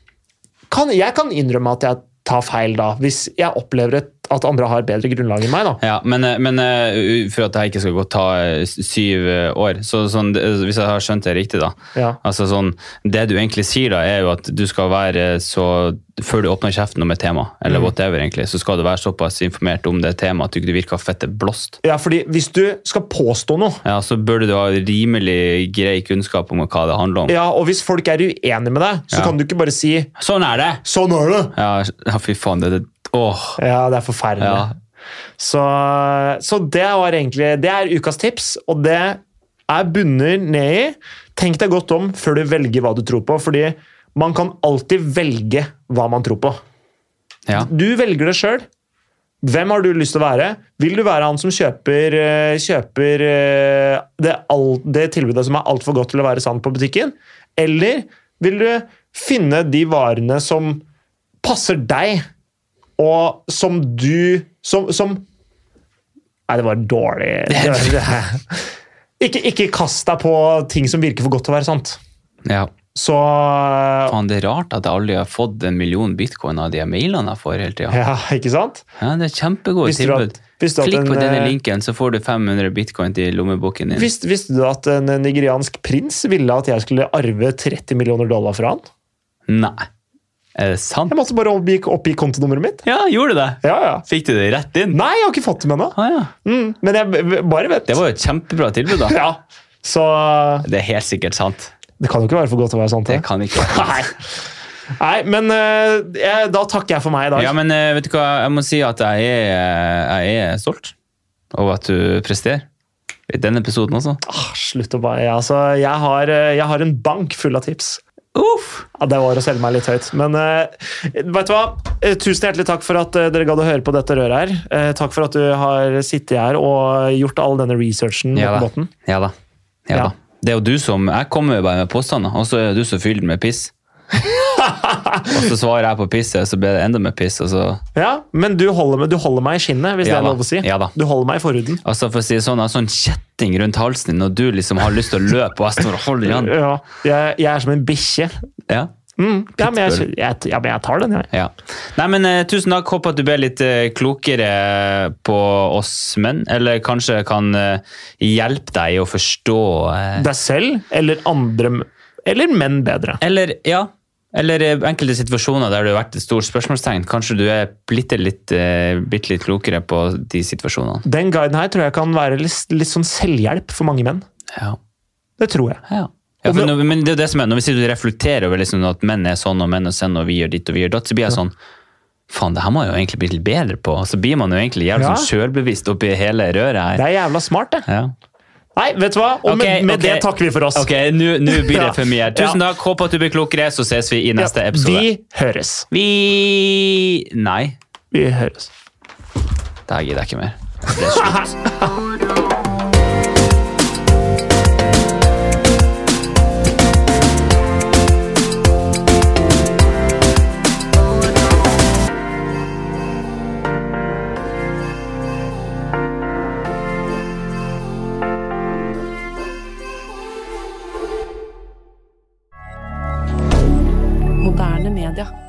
Speaker 2: kan jeg kan innrømme at jeg tar feil, da, hvis jeg opplever et at andre har bedre grunnlag enn meg. da.
Speaker 1: Ja, men, eh, men eh, for at dette ikke skal gå ta eh, syv eh, år, så sånn, eh, hvis jeg har skjønt det riktig, da
Speaker 2: Ja.
Speaker 1: altså sånn, Det du egentlig sier, da, er jo at du skal være så Før du åpner kjeften om et tema,
Speaker 2: Mm.
Speaker 1: eller whatever, egentlig, så skal du være såpass informert om det temaet at du ikke virker fette blåst.
Speaker 2: ja, fordi hvis du skal påstå noe,
Speaker 1: Ja, Så burde du ha rimelig grei kunnskap om hva det handler om.
Speaker 2: ja, og hvis folk er uenige med deg, så
Speaker 1: Ja.
Speaker 2: kan du ikke bare si
Speaker 1: Sånn er det!
Speaker 2: 'sånn er det'.
Speaker 1: Ja, ja fy faen. Det, det, åh.
Speaker 2: Ja, det er forferdelig.
Speaker 1: Ja.
Speaker 2: Så, så det var egentlig Det er ukas tips, og det er bunner ned i Tenk deg godt om før du velger hva du tror på, fordi man kan alltid velge hva man tror på.
Speaker 1: Ja.
Speaker 2: Du velger det sjøl. Hvem har du lyst til å være? Vil du være han som kjøper, eh, kjøper eh, det, all, det tilbudet som er altfor godt til å være sant på butikken? Eller vil du finne de varene som passer deg, og som du Som, som Nei, det var dårlig. Det var, det. Ikke, ikke kast deg på ting som virker for godt til å være sant.
Speaker 1: ja.
Speaker 2: Så
Speaker 1: Faen, det er rart at jeg aldri har fått en million bitcoin av de mailene jeg får hele tida.
Speaker 2: Ja, ikke sant?
Speaker 1: Ja, det er kjempegode
Speaker 2: Visste du at-
Speaker 1: tilbud.
Speaker 2: visste du at
Speaker 1: Klikk på
Speaker 2: en,
Speaker 1: denne
Speaker 2: eh,
Speaker 1: linken, så får du 500 bitcoin til lommeboken din.
Speaker 2: Visste, visste du at en nigeriansk prins ville at jeg skulle arve 30 millioner dollar fra han?
Speaker 1: Nei. Er det sant?
Speaker 2: Jeg måtte bare oppgi, oppgi kontonummeret mitt.
Speaker 1: Ja, gjorde du det?
Speaker 2: Ja, ja.
Speaker 1: Fikk du det rett inn?
Speaker 2: Nei, jeg har ikke fått det med ennå.
Speaker 1: Ah, ja.
Speaker 2: Mm, men jeg b- bare vet.
Speaker 1: Det var jo et kjempebra tilbud, da.
Speaker 2: Ja, Så
Speaker 1: Det er helt sikkert sant.
Speaker 2: det kan jo ikke være for godt til å være sant.
Speaker 1: Det
Speaker 2: det.
Speaker 1: kan ikke være
Speaker 2: Nei. Nei, men eh, jeg, da takker jeg for meg i dag.
Speaker 1: Ja, men eh, vet du hva, jeg må si at jeg er, eh, jeg er stolt over at du presterer. I denne episoden også.
Speaker 2: Ah, slutt å bare ja, altså, jeg, har, eh, jeg har en bank full av tips.
Speaker 1: Uff!
Speaker 2: Ja, det var å selge meg litt høyt. Men eh, vet du hva? Eh, Tusen hjertelig takk for at eh, dere gadd å høre på dette røret her. Eh, takk for at du har sittet her og gjort all denne researchen.
Speaker 1: Ja da.
Speaker 2: på båten.
Speaker 1: Ja da. Ja
Speaker 2: Ja.
Speaker 1: da. Det er jo du som Jeg kommer jo bare med påstander, og så er det du som fyller den med
Speaker 2: <laughs>
Speaker 1: piss. og så svarer jeg på pisset, og så blir det enda mer piss. Og så,
Speaker 2: Ja, Men du holder, meg- du holder meg i skinnet, hvis
Speaker 1: Ja
Speaker 2: det er
Speaker 1: da.
Speaker 2: lov å si.
Speaker 1: Ja da.
Speaker 2: Du holder meg i forhuden.
Speaker 1: altså for å si det sånn, jeg har sånn kjetting rundt halsen din, og du liksom har lyst til å løpe, og jeg står og holder igjen.
Speaker 2: Ja, jeg, jeg er som en bikkje.
Speaker 1: Ja.
Speaker 2: Mm. Ja, men jeg,
Speaker 1: Pitbull.
Speaker 2: jeg, ja, men jeg tar den, jeg.
Speaker 1: Ja. Nei, men eh, tusen takk. Håper at du ble litt eh, klokere på oss menn. Eller kanskje kan eh, hjelpe deg å forstå eh,
Speaker 2: Deg selv eller andre m- Eller menn bedre.
Speaker 1: Eller, ja. Eller eh, enkelte situasjoner der det har vært et stort spørsmålstegn. Kanskje du er blitt litt, eh, bitte litt klokere på de situasjonene.
Speaker 2: Den guiden her tror jeg kan være litt, litt sånn selvhjelp for mange menn.
Speaker 1: Ja.
Speaker 2: Det tror jeg.
Speaker 1: ja. ja for når, men det er jo det som er, når vi sier du reflekterer over liksom at menn er sånn og menn er sånn, og vi gjør ditt og vi gjør datt, så blir jeg sånn Faen, det her må jeg jo egentlig bli litt bedre på. Så blir man jo egentlig jævlig
Speaker 2: Ja.
Speaker 1: sånn sjølbevisst oppi hele røret her.
Speaker 2: Det er jævla smart, det.
Speaker 1: Ja.
Speaker 2: Nei, vet du hva? Og
Speaker 1: Ok,
Speaker 2: med, med
Speaker 1: ok.
Speaker 2: det takker vi for oss.
Speaker 1: Ok, nå nå blir det
Speaker 2: Ja.
Speaker 1: for mye. Tusen takk, håper at du blir klokere, så ses vi i neste
Speaker 2: Ja,
Speaker 1: episode.
Speaker 2: Vi høres.
Speaker 1: Vi Nei,
Speaker 2: Vi høres.
Speaker 1: det her gidder jeg ikke mer.
Speaker 3: Moderne media.